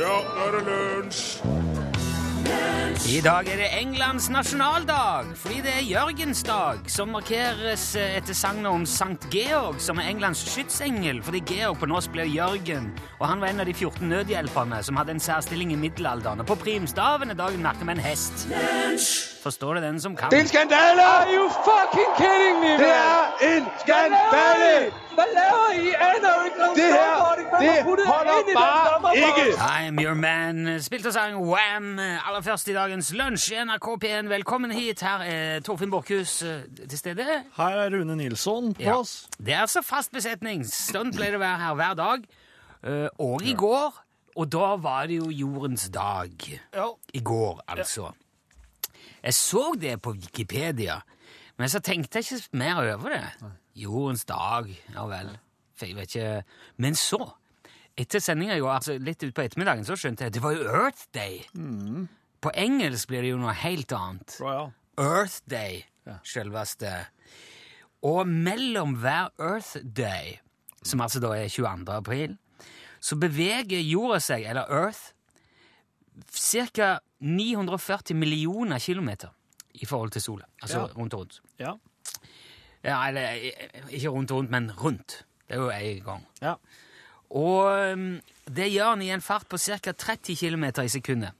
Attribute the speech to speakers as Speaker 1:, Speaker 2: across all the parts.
Speaker 1: Ja, nå er det lunsj!
Speaker 2: I dag er det Englands nasjonaldag, fordi det er Jørgens dag, som markeres eh, etter sagnet om Sankt Georg, som er Englands skytsengel, fordi Georg på norsk ble Jørgen, og han var en av de 14 nødhjelperne som hadde en særstilling i middelalderen, og på primstavene dagen merker med en hest. Forstår det den som kan?
Speaker 3: Det er en skandale!
Speaker 4: Are you fucking kidding me,
Speaker 3: Det
Speaker 4: mand?
Speaker 3: er en
Speaker 4: Hvad laver
Speaker 3: skandale!
Speaker 4: I? Hvad laver I? Aner jo ikke noget
Speaker 3: Det her,
Speaker 4: snowboarding. Hvem
Speaker 3: det
Speaker 4: har puttet jer
Speaker 3: holder
Speaker 4: ind i den
Speaker 3: bare
Speaker 4: dommerboks?
Speaker 3: ikke.
Speaker 2: I'm your man, spilt og sang Wham! Aller først i dagens lunsj i NRK P1. Velkommen hit. Her er Torfinn Borchhus eh, til stede.
Speaker 5: Her er Rune Nilsson på oss.
Speaker 2: Det er altså fast besetning. Sånn pleier det å være her hver dag. Eh, og i går. Og da var det jo jordens dag. I går, altså. Jeg så det på Wikipedia, men så tenkte jeg ikke mer over det. Jordens dag, ja vel. For jeg vet ikke Men så, etter sendinga i går, altså litt utpå ettermiddagen, så skjønte jeg at det var jo Earth Day. På engelsk blir det jo noe helt annet.
Speaker 5: Mm. Å, ja.
Speaker 2: Earth Day, selveste. Og mellom hver Earth Day, som altså da er 22. april, så beveger jorda seg, eller Earth, ca. 940 millioner kilometer i forhold til sola. Altså
Speaker 5: Ja.
Speaker 2: rundt og rundt.
Speaker 5: Ja.
Speaker 2: Ja, eller eh, ikke rundt og rundt, men rundt. Det er jo én gang.
Speaker 5: Ja.
Speaker 2: Og um, det gjør han i en fart på ca. 30 km i sekundet.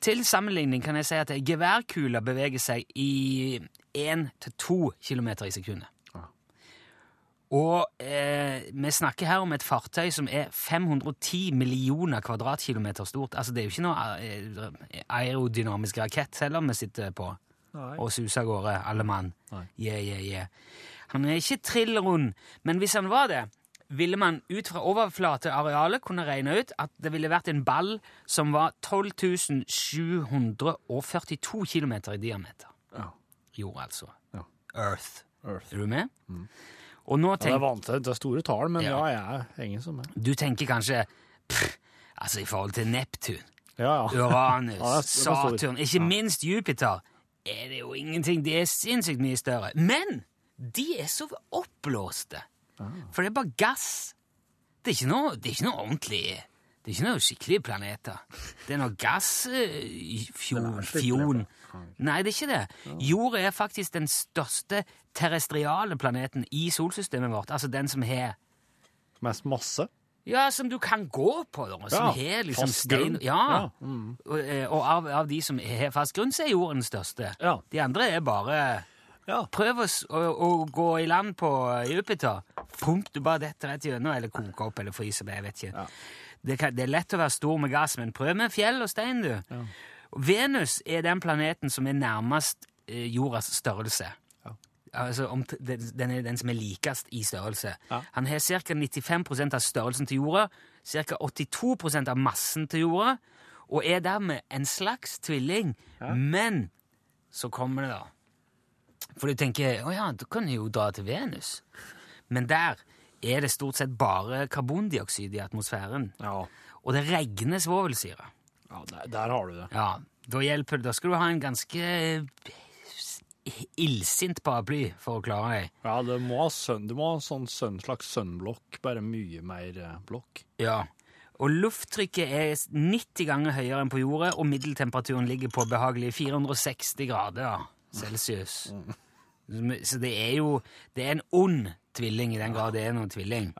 Speaker 2: Til sammenligning kan jeg si at geværkula beveger seg i 1-2 km i sekundet. Og eh, vi snakker her om et fartøy som er 510 millioner kvadratkilometer stort. Altså, det er jo ikke noe eh, aerodynamisk rakett heller vi sitter på
Speaker 5: Nei.
Speaker 2: og suser av gårde, alle mann.
Speaker 5: Nei.
Speaker 2: Yeah, yeah, yeah. Han er ikke trillrund, men hvis han var det, ville man ut fra overflatearealet kunne regne ut at det ville vært en ball som var 12 742 km i diameter.
Speaker 5: Ja.
Speaker 2: Jord, altså.
Speaker 5: Ja.
Speaker 2: Earth.
Speaker 5: Earth. Mm.
Speaker 2: Er du med? Og nå
Speaker 5: Ja, det er
Speaker 2: tenk,
Speaker 5: vanskelig. Det er store tall, men ja,
Speaker 2: Ja.
Speaker 5: jeg henger som meg.
Speaker 2: du tenker kanskje pff, Altså i forhold til Neptun,
Speaker 5: Ja, ja.
Speaker 2: Uranus,
Speaker 5: Ja, det er- det er stor.
Speaker 2: Saturn, ikke minst Jupiter, er det jo ingenting. De er sinnssykt mye større. Men de er så oppblåste.
Speaker 5: Ah.
Speaker 2: For det er bare gass. Det er ikke noe, det er ikke noe ordentlig Det er ikke noe skikkelige planeter. Det er noe eh, gassfjon. Fjon. Nei, det er ikke det. Jorda er faktisk den største terrestriale planeten i solsystemet vårt. Altså den som har
Speaker 5: Mest masse.
Speaker 2: ja, som du kan gå på, da. Som
Speaker 5: Ja,
Speaker 2: har liksom
Speaker 5: fast
Speaker 2: stein
Speaker 5: grunn.
Speaker 2: Ja.
Speaker 5: Ja,
Speaker 2: Og, eh, og av, av de som har fast grunn, så er jorden største.
Speaker 5: Ja.
Speaker 2: De andre er bare
Speaker 5: Ja.
Speaker 2: Prøv å, s- å, å gå i land på eh, Jupiter. Pump, du bare detter rett gjennom, eller koker opp eller fryser. Det, jeg vet ikke. Det, kan, det er lett å være stor med gass, men prøv med fjell og stein, du. Venus er den planeten som er nærmest eh, jordas størrelse. Altså, om, den, den er den som er likest i størrelse. Han har ca. 95 av størrelsen til jorda, ca. 82 av massen til jorda, og er dermed en slags tvilling. Men så kommer det, da. For du tenker å ja, du kan jo dra til Venus. Men der er det stort sett bare karbondioksid i atmosfæren.
Speaker 5: Ja.
Speaker 2: Og det regner svovelsyre.
Speaker 5: ja der, der har du det.
Speaker 2: Ja, da hjelper det. Da skal du ha en ganske eh, illsint paraply for å klare deg.
Speaker 5: Ja, det må ha sønn, du må ha sånn sønn, slags sønnblokk, bare mye mer eh, blokk.
Speaker 2: Ja. Og lufttrykket er 90 ganger høyere enn på jordet, og middeltemperaturen ligger på behagelige 460 grader celsius. Så det er jo Det er en ond tvilling, i den grad det er noen tvilling.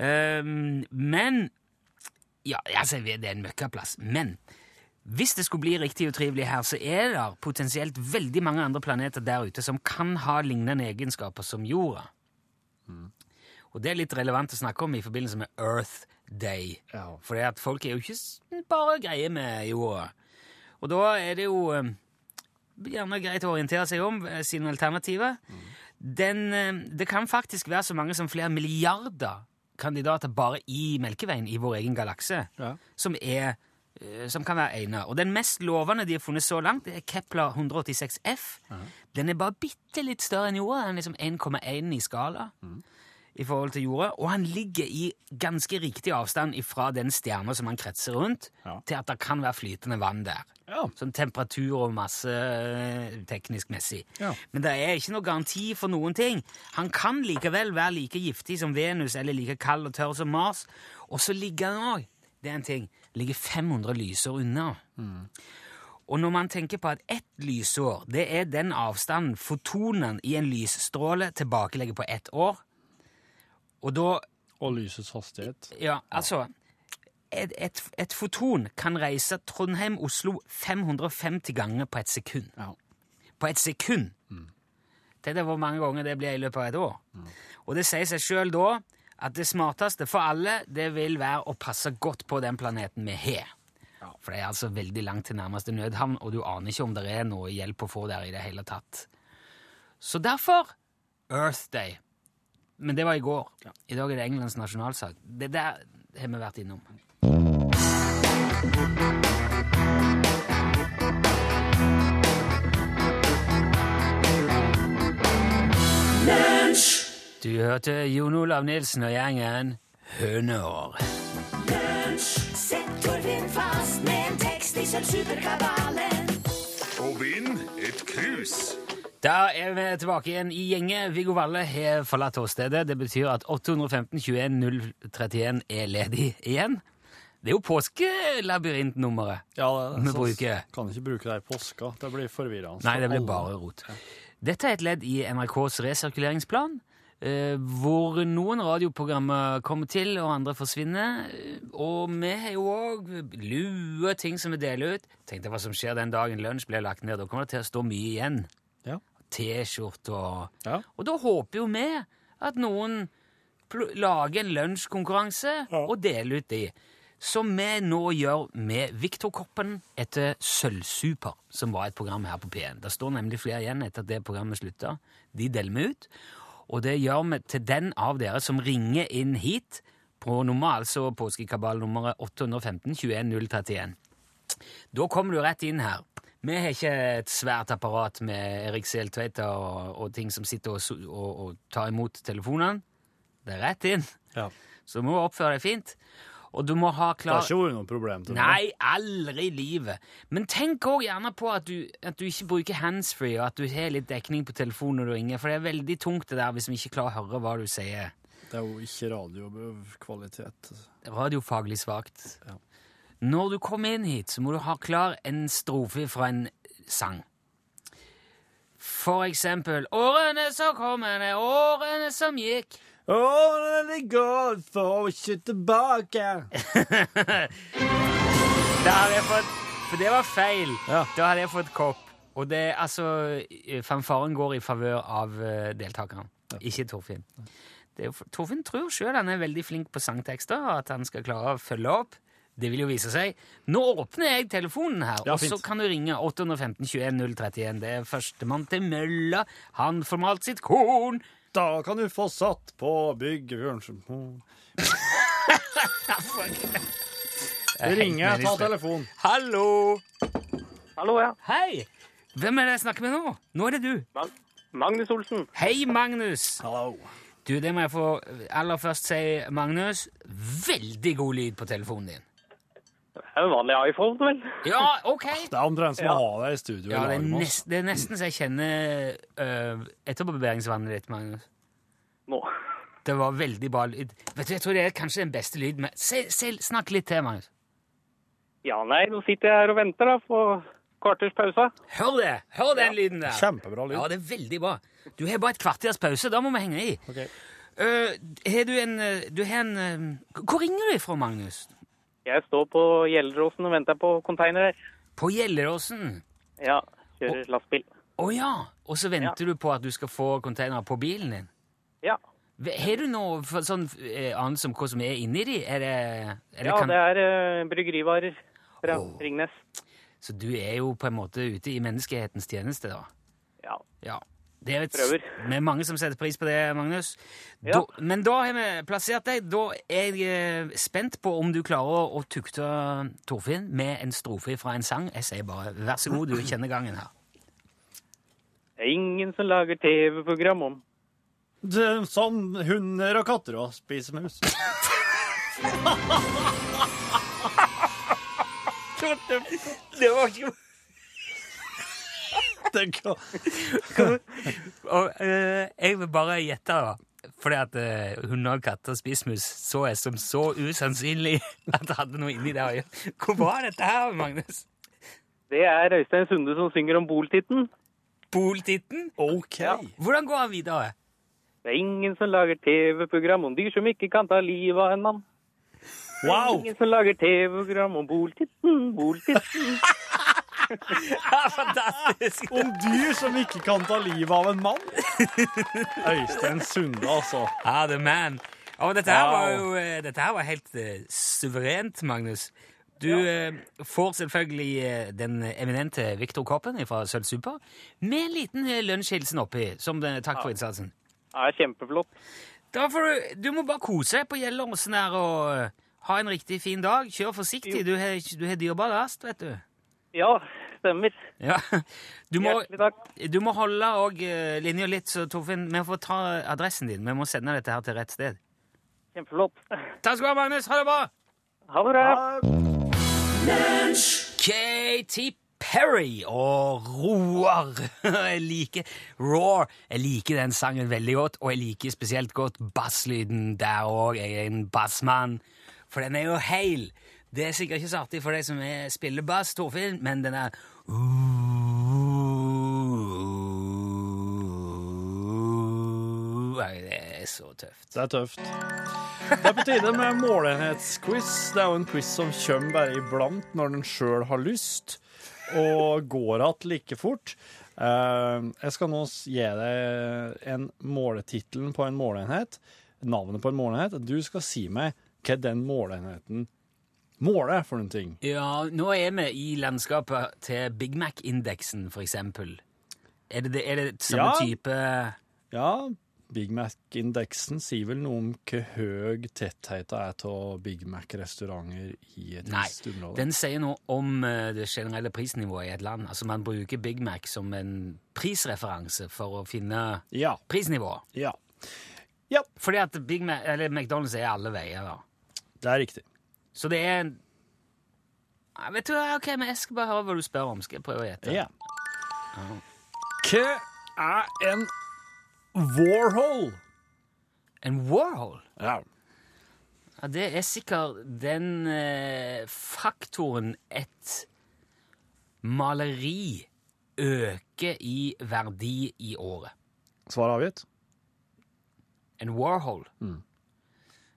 Speaker 2: Ehm, men Ja, altså, jeg vet det er en møkkaplass. Men hvis det skulle bli riktig utrivelig her, så er det potensielt veldig mange andre planeter der ute som kan ha lignende egenskaper som jorda. Og det er litt relevant å snakke om i forbindelse med Earth Day.
Speaker 5: Ja.
Speaker 2: For at folk er jo ikke s- bare greie med jorda. Og da er det jo eh, gjerne greit å orientere seg om eh, sine alternativer. Den, eh, det kan faktisk være så mange som flere milliarder kandidater bare i Melkeveien, i vår egen galakse,
Speaker 5: Ja.
Speaker 2: som, er, eh, som kan være egnet. Og den mest lovende de har funnet så langt, det er Kepler 186F. Den er bare bitte litt større enn jorda. Den er liksom 1,1 i skala
Speaker 5: Mm.
Speaker 2: i forhold til jorda, og han ligger i ganske riktig avstand fra den stjerna som han kretser rundt,
Speaker 5: Ja.
Speaker 2: til at det kan være flytende vann der.
Speaker 5: Ja.
Speaker 2: Sånn temperatur og masse eh, teknisk messig.
Speaker 5: Ja.
Speaker 2: Men det er ikke noe garanti for noen ting. Han kan likevel være like giftig som Venus, eller like kald og tørr som Mars, og så ligger han òg det er en ting, ligger 500 lysår unna. Og når man tenker på at ett lysår, det er den avstanden fotonen i en lysstråle tilbakelegger på ett år, og da
Speaker 5: Og lysets hastighet.
Speaker 2: ja, altså et, et, et foton kan reise Trondheim-Oslo 550 ganger på et sekund.
Speaker 5: Ja.
Speaker 2: På et sekund! Det er hvor mange ganger det blir i løpet av et år. Og det sier seg sjøl da at det smarteste for alle, det vil være å passe godt på den planeten vi har. For det er altså veldig langt til nærmeste nødhavn, og du aner ikke om det er noe hjelp å få der i det hele tatt. Så derfor Earth Day. Men det var i går. I dag er det Englands nasjonalsak. Det der har vi vært innom. Du hørte Jon Olav Nilsen og gjengen Høneår.
Speaker 3: Sett Torfinn fast med en tekst i sølvsuperkabalen.
Speaker 1: Og vinn et krus.
Speaker 2: Da er vi tilbake igjen i gjenge. Viggo Valle har forlatt åstedet. Det betyr at 815 21 031 er ledig igjen. Det er jo påskelabyrintnummeret. Vi
Speaker 5: så-
Speaker 2: bruker-
Speaker 5: Kan ikke bruke det i påska. Det blir forvirrende.
Speaker 2: Nei, det
Speaker 5: for
Speaker 2: blir
Speaker 5: alle.
Speaker 2: bare rot. Dette er et ledd i NRKs resirkuleringsplan, eh, hvor noen radioprogrammer kommer til, og andre forsvinner. Og vi har jo òg lue ting som vi deler ut. Tenk deg hva som skjer den dagen lunsj blir lagt ned. Da kommer det til å stå mye igjen.
Speaker 5: Ja.
Speaker 2: T-skjorte og
Speaker 5: Ja.
Speaker 2: Og da håper jo vi at noen pl- lager en lunsjkonkurranse og deler ut de. Som vi nå gjør med Viktorkoppen etter Sølvsuper, som var et program her på P1. Det står nemlig flere igjen etter at det programmet slutta. De deler vi ut. Og det gjør vi til den av dere som ringer inn hit på nummer, altså påskekabalnummeret 815 21 031. Da kommer du rett inn her. Vi har ikke et svært apparat med Erik Seltveita og, og ting som sitter og, su- og, og tar imot telefonene. Det er rett inn,
Speaker 5: Ja.
Speaker 2: så du må oppføre deg fint. Og du må ha
Speaker 5: Det
Speaker 2: klar
Speaker 5: har ikke vært noe problem til nå.
Speaker 2: Nei, aldri i livet. Men tenk òg gjerne på at du, at du ikke bruker handsfree, og at du har litt dekning på telefonen når du ringer, for det er veldig tungt det der hvis vi ikke klarer å høre hva du sier.
Speaker 5: Det er jo ikke radiokvalitet.
Speaker 2: Radiofaglig svakt.
Speaker 5: Ja.
Speaker 2: Når du kommer inn hit, så må du ha klar en strofe fra en sang. For eksempel Årene som kommer, er årene som gikk.
Speaker 5: Årene går, får ikke tilbake.
Speaker 2: Da hadde jeg fått For det var feil.
Speaker 5: Ja.
Speaker 2: Da hadde jeg fått kopp. Og det altså eh, Fanfaren går i favør av eh, deltakeren, ikke Torfinn. Det er jo for- Torfinn tror sjøl han er veldig flink på sangtekster, og at han skal klare å følge opp. Det vil jo vise seg. Nå åpner jeg telefonen her,
Speaker 5: Ja,
Speaker 2: og så
Speaker 5: fint.
Speaker 2: kan du ringe 815 21 031. Det er førstemann til mølla. Han får malt sitt korn.
Speaker 5: Da kan du få satt på bygget Bjørnsen. Ringe, ta telefon.
Speaker 2: Hallo!
Speaker 6: Hallo, ja.
Speaker 2: Hei! Hvem er det jeg snakker med nå? Nå er det du.
Speaker 6: Mag Magnus Olsen.
Speaker 2: Hei, Magnus!
Speaker 5: Hallo.
Speaker 2: Du, det må jeg få aller først si, Magnus. Veldig god lyd på telefonen din.
Speaker 6: Det er jo vanlig iPhone, vel?
Speaker 2: Ja, ok!
Speaker 5: Det er omtrent som å ha deg i studio. i
Speaker 2: Ja, det
Speaker 5: lag
Speaker 2: er,
Speaker 5: med oss.
Speaker 2: nest, det er nesten så jeg kjenner øh, etterbarberingsvannet ditt, Magnus.
Speaker 6: Nå.
Speaker 2: Det var veldig bra lyd. Vet du, Jeg tror det er kanskje den beste lyden med se, se, Snakk litt til, Magnus.
Speaker 6: Ja, nei, nå sitter jeg her og venter da, på kvarters pause.
Speaker 2: Hør det! Hør den lyden der!
Speaker 5: Kjempebra lyd.
Speaker 2: Ja, det er veldig bra. Du har bare et kvarters pause. Da må vi henge i.
Speaker 5: Ok.
Speaker 2: Øh, har du en, øh, du har en øh, Hvor ringer du ifra, Magnus?
Speaker 6: Jeg står på Gjelleråsen og venter på container her.
Speaker 2: På Gjelleråsen?
Speaker 6: Ja, kjører lastbil.
Speaker 2: Å ja! Og så venter du på at du skal få containere på bilen din?
Speaker 6: Ja,
Speaker 2: V- Har du noe for, sånn eh, annet som hva som er inni de? Er det, eller
Speaker 6: ja
Speaker 2: kan,
Speaker 6: det er eh, bryggerivarer fra Ringnes.
Speaker 2: Så du er jo på en måte ute i menneskehetens tjeneste, da?
Speaker 6: Ja,
Speaker 2: Ja. Det er et,
Speaker 6: Prøver.
Speaker 2: Vi er mange som setter pris på det, Magnus.
Speaker 6: Ja.
Speaker 2: Da, men da har vi plassert deg. Da er jeg eh, spent på om du klarer å- å tukte Torfinn med en strofe fra en sang. Jeg sier bare vær så god, du kjenner gangen her.
Speaker 6: det er ingen som lager TV-program om.
Speaker 5: Det er Som sånn hunder og katter og spiser mus.
Speaker 2: Det var ikke
Speaker 5: Det kan-
Speaker 2: Og eh, jeg vil bare gjette, da. Fordi at eh, hunder og katter spiser mus så jeg som så usannsynlig at det hadde noe inni det å gjøre. Hvor var dette her, Magnus?
Speaker 6: Det er Øystein Sunde som synger om boltitten.
Speaker 2: Boltitten?
Speaker 7: OK.
Speaker 2: Hvordan går han videre?
Speaker 6: Det er ingen som lager TV-program om dyr som ikke kan ta livet av en mann.
Speaker 7: Wow!
Speaker 6: Ingen som lager TV-program om boltitten, boltitten.
Speaker 2: Ja, fantastisk!
Speaker 7: Om dyr som ikke kan ta livet av en mann. Øystein Sunde, altså.
Speaker 2: Ah, the man. Og dette her var
Speaker 7: Wow.
Speaker 2: jo eh, dette her var helt eh, suverent, Magnus. Du eh, får selvfølgelig eh, den eminente Viktor Koppen fra Sølv Super med en liten eh, lunsjhilsen oppi, som den, takk for innsatsen.
Speaker 6: Det er kjempeflott.
Speaker 2: Da får du, du må bare kose deg på Gjelleråsen her og eh, ha en riktig fin dag. Kjør forsiktig, du har, du har dyrbar last, vet du.
Speaker 6: Ja, stemmer.
Speaker 2: Ja. Du, må,
Speaker 6: Hjertelig takk.
Speaker 2: du må holde og, eh, linja litt, så Torfinn, vi får ta adressen din. Vi må sende dette her til rett sted.
Speaker 6: Kjempeflott.
Speaker 2: Takk skal du ha, Magnus. Ha det bra!
Speaker 6: Ha det bra.
Speaker 2: Katy Perry og Roar. Jeg liker Roar. Jeg liker den sangen veldig godt, og jeg liker spesielt godt basslyden der òg. Jeg er en bassmann, for den er jo heil. Det er sikkert ikke så artig for deg som er spiller bass, Torfinn, men den er Det er så tøft.
Speaker 7: Det er tøft. Det er på tide med målenhetsquiz. Det er jo en quiz som kommer bare iblant når den sjøl har lyst, og går igjen like fort. Eh, Jeg skal nå s- gi deg en måletittelen på en målenhet, navnet på en målenhet. Du skal si meg hva den målenheten måler for noen ting.
Speaker 2: Ja, nå er vi i landskapet til Big Mac-indeksen, for eksempel. Er det, det- er det samme
Speaker 7: Ja.
Speaker 2: type
Speaker 7: Ja, Big Mac-indeksen sier vel noe om hvor høy tettheten er av Big Mac-restauranter i et
Speaker 2: Nei.
Speaker 7: visst område.
Speaker 2: Den sier noe om eh, det generelle prisnivået i et land. Altså, man bruker Big Mac som en prisreferanse for å finne
Speaker 7: Ja,
Speaker 2: prisnivået.
Speaker 7: ja,
Speaker 2: Fordi at Big Mac, eller McDonald's er alle veier, da.
Speaker 7: det er riktig.
Speaker 2: Så det er en Nei, Vet du hva, ok, men jeg skal bare høre hva du spør om. Skal jeg prøve å gjette?
Speaker 7: Ja. Hva er en Warhol?
Speaker 2: En Warhol?
Speaker 7: Ja.
Speaker 2: Ja, det er sikkert den eh, faktoren et maleri øker i verdi i året.
Speaker 7: Svar avgitt?
Speaker 2: En Warhol.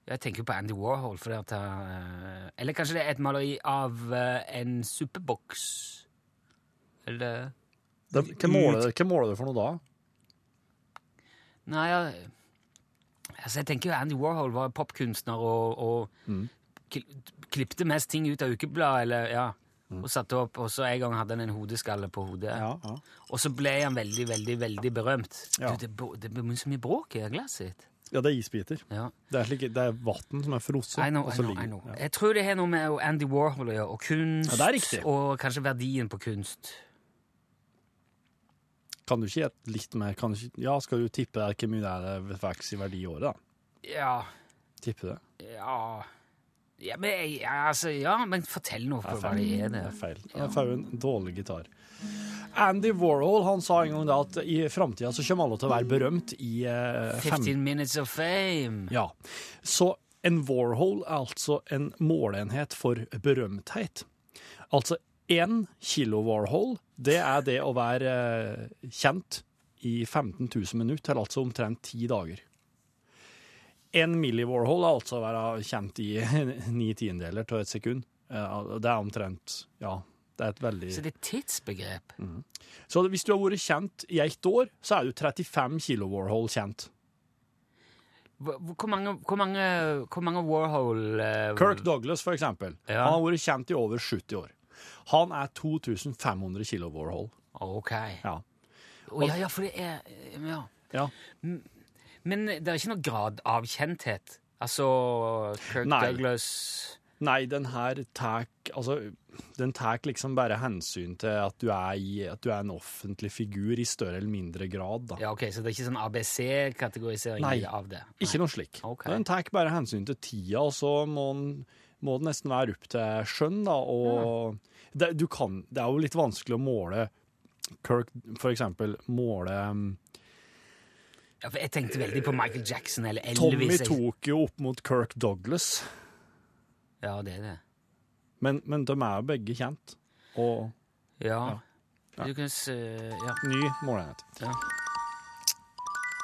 Speaker 2: Jeg tenker på Andy Warhol, fordi at eh, Eller kanskje det er et maleri av eh, en suppeboks? Eller
Speaker 7: Det, hva, måler, hva måler du for noe da?
Speaker 2: Nei, jeg, altså jeg tenker jo Andy Warhol var popkunstner og, og
Speaker 7: Mm.
Speaker 2: kl- klippte mest ting ut av ukeblad, eller ja, og satte opp, og så en gang hadde han en hodeskalle på hodet.
Speaker 7: Mm. ja.
Speaker 2: Og så ble han veldig, veldig, veldig berømt.
Speaker 7: Ja.
Speaker 2: Du, det, br- det blir så mye bråk i det glasset ditt.
Speaker 7: ja, det er isbiter.
Speaker 2: Ja.
Speaker 7: Det er, slik, det er vatten som er frosset.
Speaker 2: I know,
Speaker 7: og
Speaker 2: I
Speaker 7: så
Speaker 2: know,
Speaker 7: ligger-
Speaker 2: I know.
Speaker 7: Ja.
Speaker 2: Jeg tror det har noe med Andy Warhol å gjøre, og kunst,
Speaker 7: Ja, det er riktig.
Speaker 2: og kanskje verdien på kunst.
Speaker 7: Kan du ikke gjette litt mer? Kan du ikke, ja, skal du tippe det? Hvor mye det er det vokser i verdi i året, da?
Speaker 2: Ja,
Speaker 7: Tippe det.
Speaker 2: ja... Ja, men, jeg- ja, altså, ja, men fortell noe på hva det er det.
Speaker 7: Det er feil. Det er feil. En dårlig gitar. Andy Warhol han sa en gang da at i framtida så kommer alle til å være berømt i eh, fem-
Speaker 2: 15 minutes of fame.
Speaker 7: Ja. Så en Warhol er altså en måleenhet for berømthet. Altså én kilo Warhol, det er det å være eh, kjent i 15 000 minutter, eller altså omtrent ti dager. En milli Warhol er altså å være kjent i ni tiendedeler av et sekund. Eh, Det er omtrent Ja, det er et veldig
Speaker 2: Så det er et tidsbegrep.
Speaker 7: Så hvis du har vært kjent i ett år, så er du 35 kilo Warhol kjent.
Speaker 2: Hvor, hvor, mange, hvor, mange, hvor mange Warhol eh,
Speaker 7: Kirk Douglas, for eksempel.
Speaker 2: Ja.
Speaker 7: Han har vært kjent i over 70 år. Han er 2500 kilo Warhol.
Speaker 2: Ok.
Speaker 7: Ja.
Speaker 2: Å, ja, ja, for det er eh, ja.
Speaker 7: ja.
Speaker 2: Men det er ikke noen grad av kjenthet. Altså Kirk
Speaker 7: Nei.
Speaker 2: Douglas
Speaker 7: Nei, den her tar Altså, den tar liksom bare hensyn til at du, er i, at du er en offentlig figur i større eller mindre grad, da.
Speaker 2: Ja, ok, Så det er ikke sånn ABC-kategorisering
Speaker 7: Nei.
Speaker 2: av det?
Speaker 7: Ikke noe slik.
Speaker 2: Ok.
Speaker 7: Den tar bare hensyn til tida, og så må den må det nesten være opp til skjønn, da, og det, du kan, det er jo litt mm, vanskelig å måle Kirk, for eksempel, måle um,
Speaker 2: Ja, for jeg tenkte veldig på Michael Jackson eller
Speaker 7: Tommy
Speaker 2: Elvis. jeg-
Speaker 7: tok jo opp mot Kirk Douglas,
Speaker 2: Ja, det er det.
Speaker 7: men, men de er jo begge kjent. Og
Speaker 2: Ja. Du kan se Ja.
Speaker 7: ny målenhet.
Speaker 2: Ja.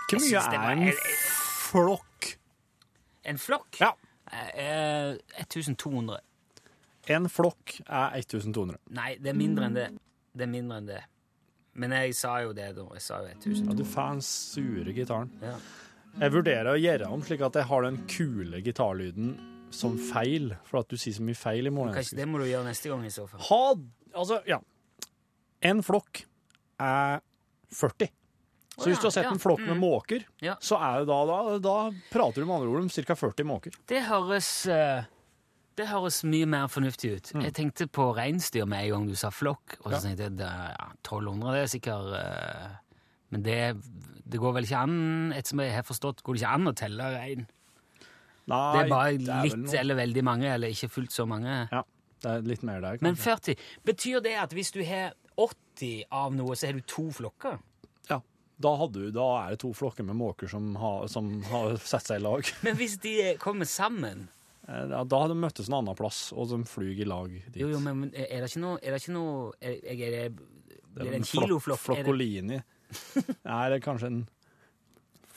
Speaker 7: Hvor mye
Speaker 2: synes det var-
Speaker 7: er en flokk?
Speaker 2: En flokk?
Speaker 7: Ja.
Speaker 2: Eh, eh, 1200.
Speaker 7: En flokk er 1200.
Speaker 2: Nei, det er mindre enn det. Det er mindre enn det. Men jeg sa jo det, da. Jeg sa jo 1200.
Speaker 7: Ja, du får den sure gitaren.
Speaker 2: Ja.
Speaker 7: Jeg vurderer å gjøre om slik at jeg har den kule gitarlyden som feil, for at du sier så mye feil i
Speaker 2: Kanskje
Speaker 7: målenhet.
Speaker 2: det må du gjøre neste gang, i så fall.
Speaker 7: Ha Altså, ja. En flokk er 40. Så hvis du har sett
Speaker 2: ja, Mm.
Speaker 7: en flokk med måker,
Speaker 2: Ja.
Speaker 7: så er jo da, da, da prater du med andre ord om ca. 40 måker.
Speaker 2: Det høres eh, det høres mye mer fornuftig ut.
Speaker 7: Mm.
Speaker 2: Jeg tenkte på reinsdyr med en gang du sa flokk. Og så tenkte jeg det er, ja, 1200 det er sikkert eh, Men det, det går vel ikke an, etter som jeg har forstått, går det ikke an å telle rein?
Speaker 7: Nei,
Speaker 2: Det er bare
Speaker 7: det er vel
Speaker 2: litt
Speaker 7: noe-
Speaker 2: eller veldig mange, eller ikke fullt så mange.
Speaker 7: Ja, det er litt mer der, kanskje.
Speaker 2: Men 40 Betyr det at hvis du har 80 av noe, så har du to flokker?
Speaker 7: Ja. Da, hadde, du- da er det to flokker med måker som har, som har sett seg i lag.
Speaker 2: Men hvis de kommer sammen
Speaker 7: Eh, ja, Da hadde de møttes en annen plass, og de flyg i lag dit.
Speaker 2: Jo, jo, men men er det ikke noe Er det ikke noe er, er det,
Speaker 7: er
Speaker 2: blir det
Speaker 7: en
Speaker 2: en
Speaker 7: flok-
Speaker 2: kiloflokk? Er det-
Speaker 7: Flokkolini. Nei, det er kanskje en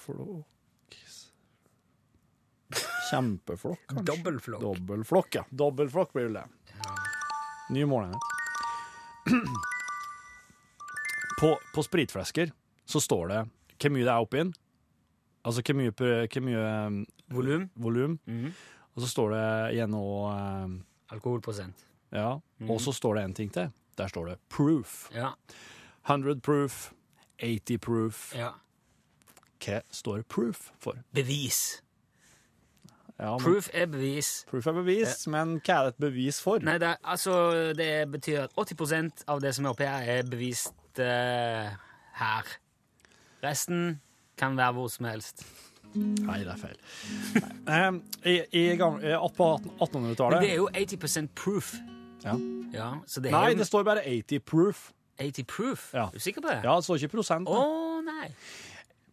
Speaker 7: flokk Kjempeflokk, kanskje.
Speaker 2: Dobbeltflokk.
Speaker 7: Dobbelflokk, ja. Dobbelflokk blir det. Ny målenhet. På, på spritflasker så står det hvor mye det er oppi den. Altså hvor mye, pr- hvor mye um,
Speaker 2: Volum?
Speaker 7: volum.
Speaker 2: Mhm.
Speaker 7: Og så står det igjen også, um,
Speaker 2: Alkoholprosent.
Speaker 7: ja.
Speaker 2: Mhm.
Speaker 7: Og så står det en ting til. Der står det proof.
Speaker 2: Ja.
Speaker 7: 100 proof. 80 proof.
Speaker 2: ja.
Speaker 7: Hva står proof for?
Speaker 2: Bevis.
Speaker 7: Ja, men-
Speaker 2: Proof Eh. er bevis.
Speaker 7: proof er bevis, men hva er det et bevis for?
Speaker 2: Nei, det, er- altså, det betyr at 80 av det som er oppi her, er bevist eh, her. Resten kan være hvor som helst.
Speaker 7: Nei, det er feil. Nei. Um, I, i gamle, eh, på 18-
Speaker 2: Men det er
Speaker 7: 1800-tallet
Speaker 2: jo 80 proof.
Speaker 7: ja.
Speaker 2: Ja, så det
Speaker 7: Nei,
Speaker 2: er
Speaker 7: det står bare 80 proof.
Speaker 2: 80 proof.
Speaker 7: Ja.
Speaker 2: Er du sikker på det?
Speaker 7: Ja, det står ikke prosent.
Speaker 2: Å
Speaker 7: nei.
Speaker 2: nei.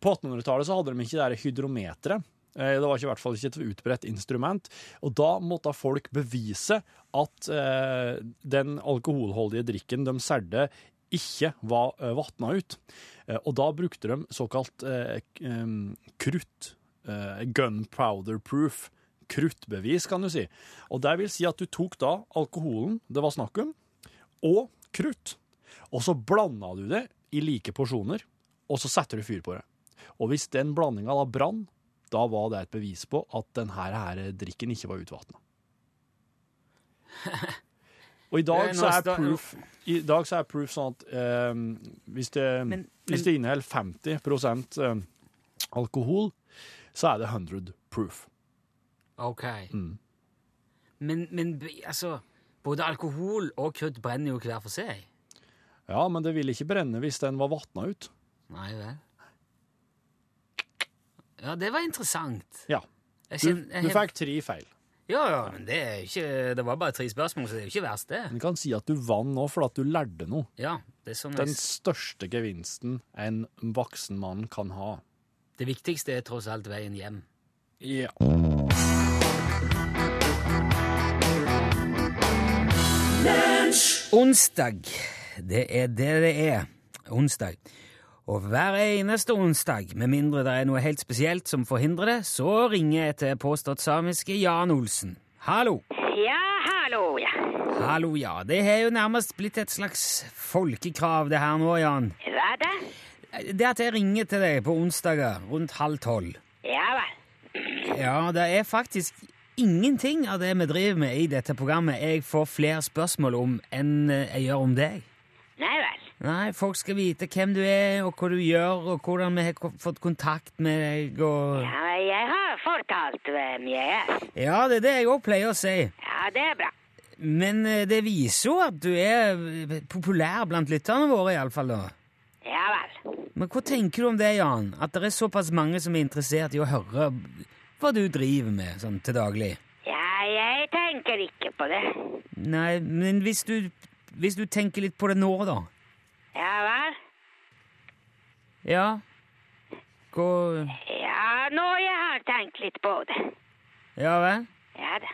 Speaker 7: På 1800-tallet så hadde de ikke det der hydrometeret. Eh, Det var ikke, i hvert fall ikke et utbredt instrument. Og da måtte folk bevise at eh, den alkoholholdige drikken de solgte, ikke var eh, vatna ut. Eh, og da brukte de såkalt eh, k- em, krutt. Eh, gunpowder proof. Kruttbevis, kan du si. Og det vil si at du tok da alkoholen det var snakk om, og krutt. Og så blanda du det i like porsjoner, og så setter du fyr på det. Og hvis den blandinga da brann, da var det et bevis på at den her, her drikken ikke var utvatna. Og i dag
Speaker 2: Det er
Speaker 7: så er
Speaker 2: noe sta-
Speaker 7: proof, i dag så er proof sånn at eh, hvis, det,
Speaker 2: Men-
Speaker 7: hvis det inneholder 50 eh, alkohol, så er det 100 proof.
Speaker 2: Ok.
Speaker 7: Mm.
Speaker 2: Men, men be- altså Både alkohol og krutt brenner jo hver for seg.
Speaker 7: Ja, men det ville ikke brenne hvis den var vatna ut.
Speaker 2: Nei vel. Ja, det var interessant.
Speaker 7: Ja.
Speaker 2: Jeg
Speaker 7: Du,
Speaker 2: kjenner- jeg
Speaker 7: du
Speaker 2: har-
Speaker 7: fikk tre feil.
Speaker 2: Ja, ja, men det er jo ikke Det var bare tre spørsmål, så det er jo ikke verst, det.
Speaker 7: Men du kan si at du vant nå for at du lærte noe.
Speaker 2: Ja, Det er sånn jeg
Speaker 7: Den
Speaker 2: s-
Speaker 7: største gevinsten en voksen mann kan ha.
Speaker 2: Det viktigste er tross alt veien hjem.
Speaker 7: Ja.
Speaker 2: Onsdag. Det er det det er. Onsdag. Og hver eneste onsdag, med mindre det er noe helt spesielt som forhindrer det, så ringer jeg til påstått samiske Jan Olsen. Hallo.
Speaker 8: Ja, hallo, ja.
Speaker 2: Hallo, ja. Det har jo nærmest blitt et slags folkekrav, det her nå, Jan.
Speaker 8: Hva da?
Speaker 2: Det at jeg ringer til deg på onsdager rundt halv tolv
Speaker 8: Ja vel.
Speaker 2: Ja, det er faktisk ingenting av det vi driver med i dette programmet jeg får flere spørsmål om enn eh, jeg gjør om deg.
Speaker 8: Nei vel.
Speaker 2: Nei, folk skal vite hvem du er, og hva du gjør, og hvordan vi har ko- fått kontakt med deg, og
Speaker 8: Ja, men jeg har fortalt hvem jeg er.
Speaker 2: Ja, det er det jeg òg pleier å si.
Speaker 8: Ja, det er bra.
Speaker 2: Men eh, det viser jo at du er eh, populær blant lytterne våre, iallfall, da.
Speaker 8: Ja vel.
Speaker 2: Men hva tenker du om det, Jan? At det er såpass mange som er interessert i å høre hva du driver med sånn til daglig?
Speaker 8: Ja, jeg tenker ikke på det.
Speaker 2: Nei, men hvis du, hvis du tenker litt på det nå, da?
Speaker 8: Ja vel.
Speaker 2: Ja. Hva- Hva
Speaker 8: Ja, nå jeg har tenkt litt på det.
Speaker 2: Ja vel?
Speaker 8: Ja da.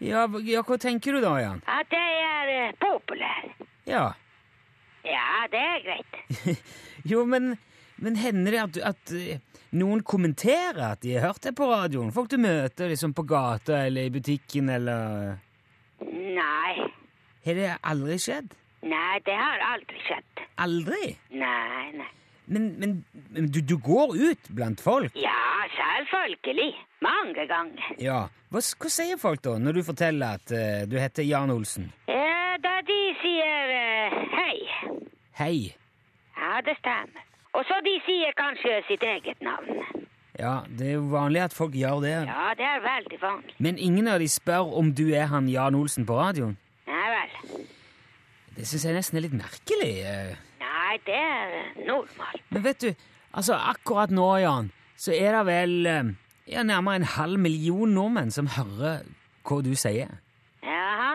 Speaker 2: Ja, hva- ja, hva tenker du da, Jan?
Speaker 8: At jeg er eh, populær.
Speaker 2: Ja.
Speaker 8: Ja, det er greit.
Speaker 2: Jo, men, men hender det at, du- at eh, noen kommenterer at de har hørt deg på radioen? Folk du møter liksom på gata eller i butikken eller eh,
Speaker 8: Nei.
Speaker 2: Har det aldri skjedd?
Speaker 8: Nei, det har aldri skjedd.
Speaker 2: Aldri?
Speaker 8: Nei, nei.
Speaker 2: Men, men, men du, du går ut blant folk?
Speaker 8: Ja, selvfølgelig. Mange ganger.
Speaker 2: Ja. Hva, s- hva sier folk da, når du forteller at eh, du heter Jan Olsen?
Speaker 8: Eh, Da de sier eh, hei.
Speaker 2: Hei.
Speaker 8: Ja, det stemmer. Og så de sier kanskje sitt eget navn.
Speaker 2: Ja, det er jo vanlig at folk gjør det.
Speaker 8: Ja, det er veldig vanlig.
Speaker 2: Men ingen av de spør om du er han Jan Olsen på radioen.
Speaker 8: Nei vel.
Speaker 2: Det syns jeg nesten er litt merkelig. eh.
Speaker 8: Nei, det er eh, normalt.
Speaker 2: Men vet du, altså akkurat nå, Jan, så er det vel eh, ja, nærmere en halv million nordmenn som hører hva du sier.
Speaker 8: Jaha.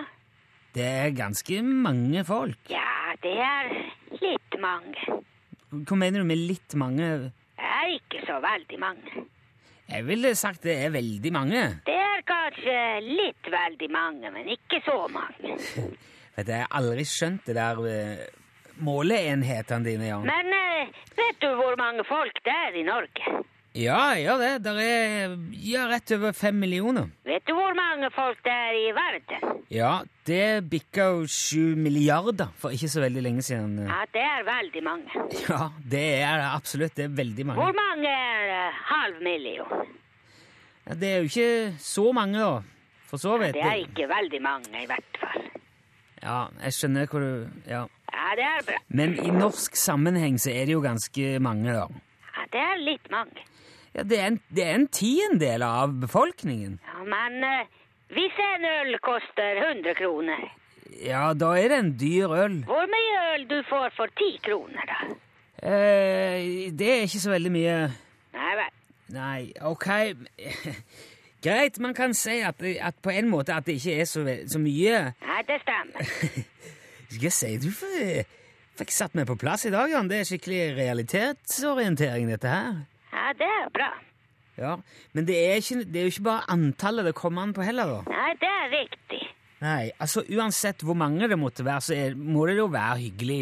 Speaker 2: Det er ganske mange folk.
Speaker 8: Ja, det er litt mange.
Speaker 2: Hva mener du med litt mange?
Speaker 8: Det er ikke så veldig mange.
Speaker 2: Jeg ville sagt det er veldig mange.
Speaker 8: Det er kanskje litt veldig mange, men ikke så mange.
Speaker 2: Vet du, jeg har aldri skjønt det der eh, måleenhetene dine, Jan.
Speaker 8: Men eh, vet du hvor mange folk det er i Norge?
Speaker 2: Ja, jeg gjør det. Der er ja, rett over fem millioner.
Speaker 8: Vet du hvor mange folk det er i verden?
Speaker 2: Ja, det bikka jo sju milliarder for ikke så veldig lenge siden.
Speaker 8: Ja, det er veldig mange.
Speaker 2: Ja, det er det absolutt. Det er veldig mange.
Speaker 8: Hvor mange er eh, halv million?
Speaker 2: Ja, det er jo ikke så mange, da. For så vidt.
Speaker 8: Det er ikke veldig mange, i hvert fall.
Speaker 2: Ja, jeg skjønner hvor du Ja.
Speaker 8: Ja, det er bra.
Speaker 2: Men i norsk sammenheng så er det jo ganske mange, da.
Speaker 8: Ja, det er litt mange.
Speaker 2: Ja, det er en, det er en tiendedel av befolkningen.
Speaker 8: Ja, men eh, hvis en øl koster 100 kroner,
Speaker 2: Ja, da er det en dyr øl.
Speaker 8: hvor mye øl du får for 10 kroner da?
Speaker 2: Eh, det er ikke så veldig mye
Speaker 8: Nei vel.
Speaker 2: Nei, ok Greit, man kan si at, at på en måte at det ikke er så, ve- så mye
Speaker 8: Nei, det stemmer.
Speaker 2: Skal jeg si, du får- fikk satt meg på plass i dag, Jan. Det er skikkelig realitetsorientering, dette her.
Speaker 8: Ja, det er bra.
Speaker 2: Ja, Men det er, ikke, det er jo ikke bare antallet det kommer an på heller, da.
Speaker 8: Nei, det er riktig.
Speaker 2: Nei, altså Uansett hvor mange det måtte være, så er, må det jo være hyggelig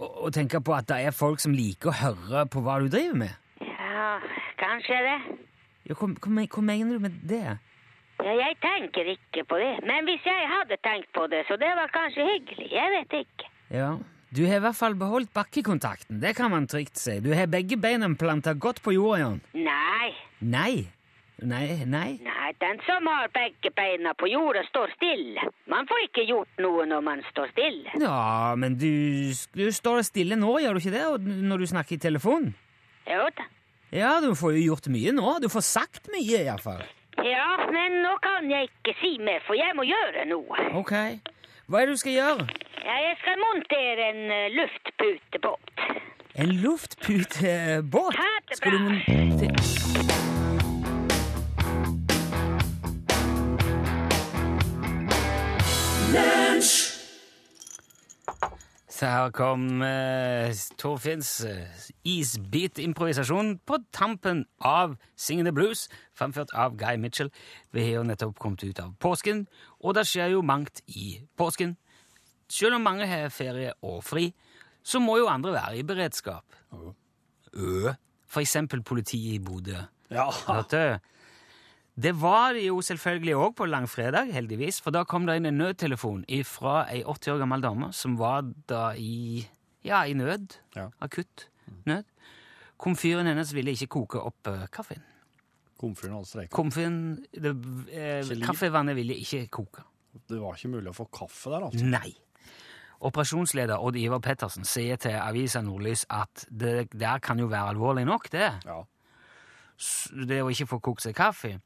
Speaker 2: å, å tenke på at det er folk som liker å høre på hva du driver med.
Speaker 8: Ja, kanskje det.
Speaker 2: Ja, hva, hva, men- hva mener du med det?
Speaker 8: Ja, jeg tenker ikke på det. Men hvis jeg hadde tenkt på det, så det var kanskje hyggelig. Jeg vet ikke.
Speaker 2: Ja, Du har i hvert fall beholdt bakkekontakten. Det kan man trygt si. Du har begge beina planta godt på jorda, Jan.
Speaker 8: Nei,
Speaker 2: Nei. Nei, nei.
Speaker 8: nei, den som har begge beina på jorda, står stille. Man får ikke gjort noe når man står stille.
Speaker 2: Ja, men du, du står stille nå, gjør du ikke det? Og når du snakker i telefonen?
Speaker 8: Jo da.
Speaker 2: Ja, du får jo gjort mye nå. Du får sagt mye, iallfall.
Speaker 8: Ja, men nå kan jeg ikke si mer, for jeg må gjøre noe.
Speaker 2: Ok. Hva er det du skal gjøre?
Speaker 8: Ja, jeg skal montere en eh, luftputebåt.
Speaker 2: En eh, luftputebåt?
Speaker 8: Ha det
Speaker 2: Skal du
Speaker 8: bra.
Speaker 2: mon- til- Så her kom eh, Torfinns eh, isbit-improvisasjon på tampen av Singing the Blues, fremført av Guy Mitchell. Vi har jo nettopp kommet ut av påsken, og det skjer jo mangt i påsken. Selv om mange har ferie og fri, så må jo andre være i beredskap. Ø. For eksempel politiet i Bodø.
Speaker 5: Ja.
Speaker 2: Vet du? Det var det jo selvfølgelig òg på langfredag, heldigvis, for da kom det inn en nødtelefon fra ei 80 år gammel dame som var da i ja, i nød.
Speaker 5: Ja.
Speaker 2: Akutt nød. Komfyren hennes ville ikke koke opp eh, kaffen.
Speaker 5: Komfyren hadde streiket.
Speaker 2: Komfyren, det, eh,
Speaker 5: liv.
Speaker 2: Kaffevannet ville ikke koke.
Speaker 5: Det var ikke mulig å få kaffe der, altså.
Speaker 2: Nei. Operasjonsleder Odd Ivar Pettersen sier til avisa Nordlys at det der kan jo være alvorlig nok, det.
Speaker 5: Ja.
Speaker 2: S- Det å ikke få kokt seg kaffe.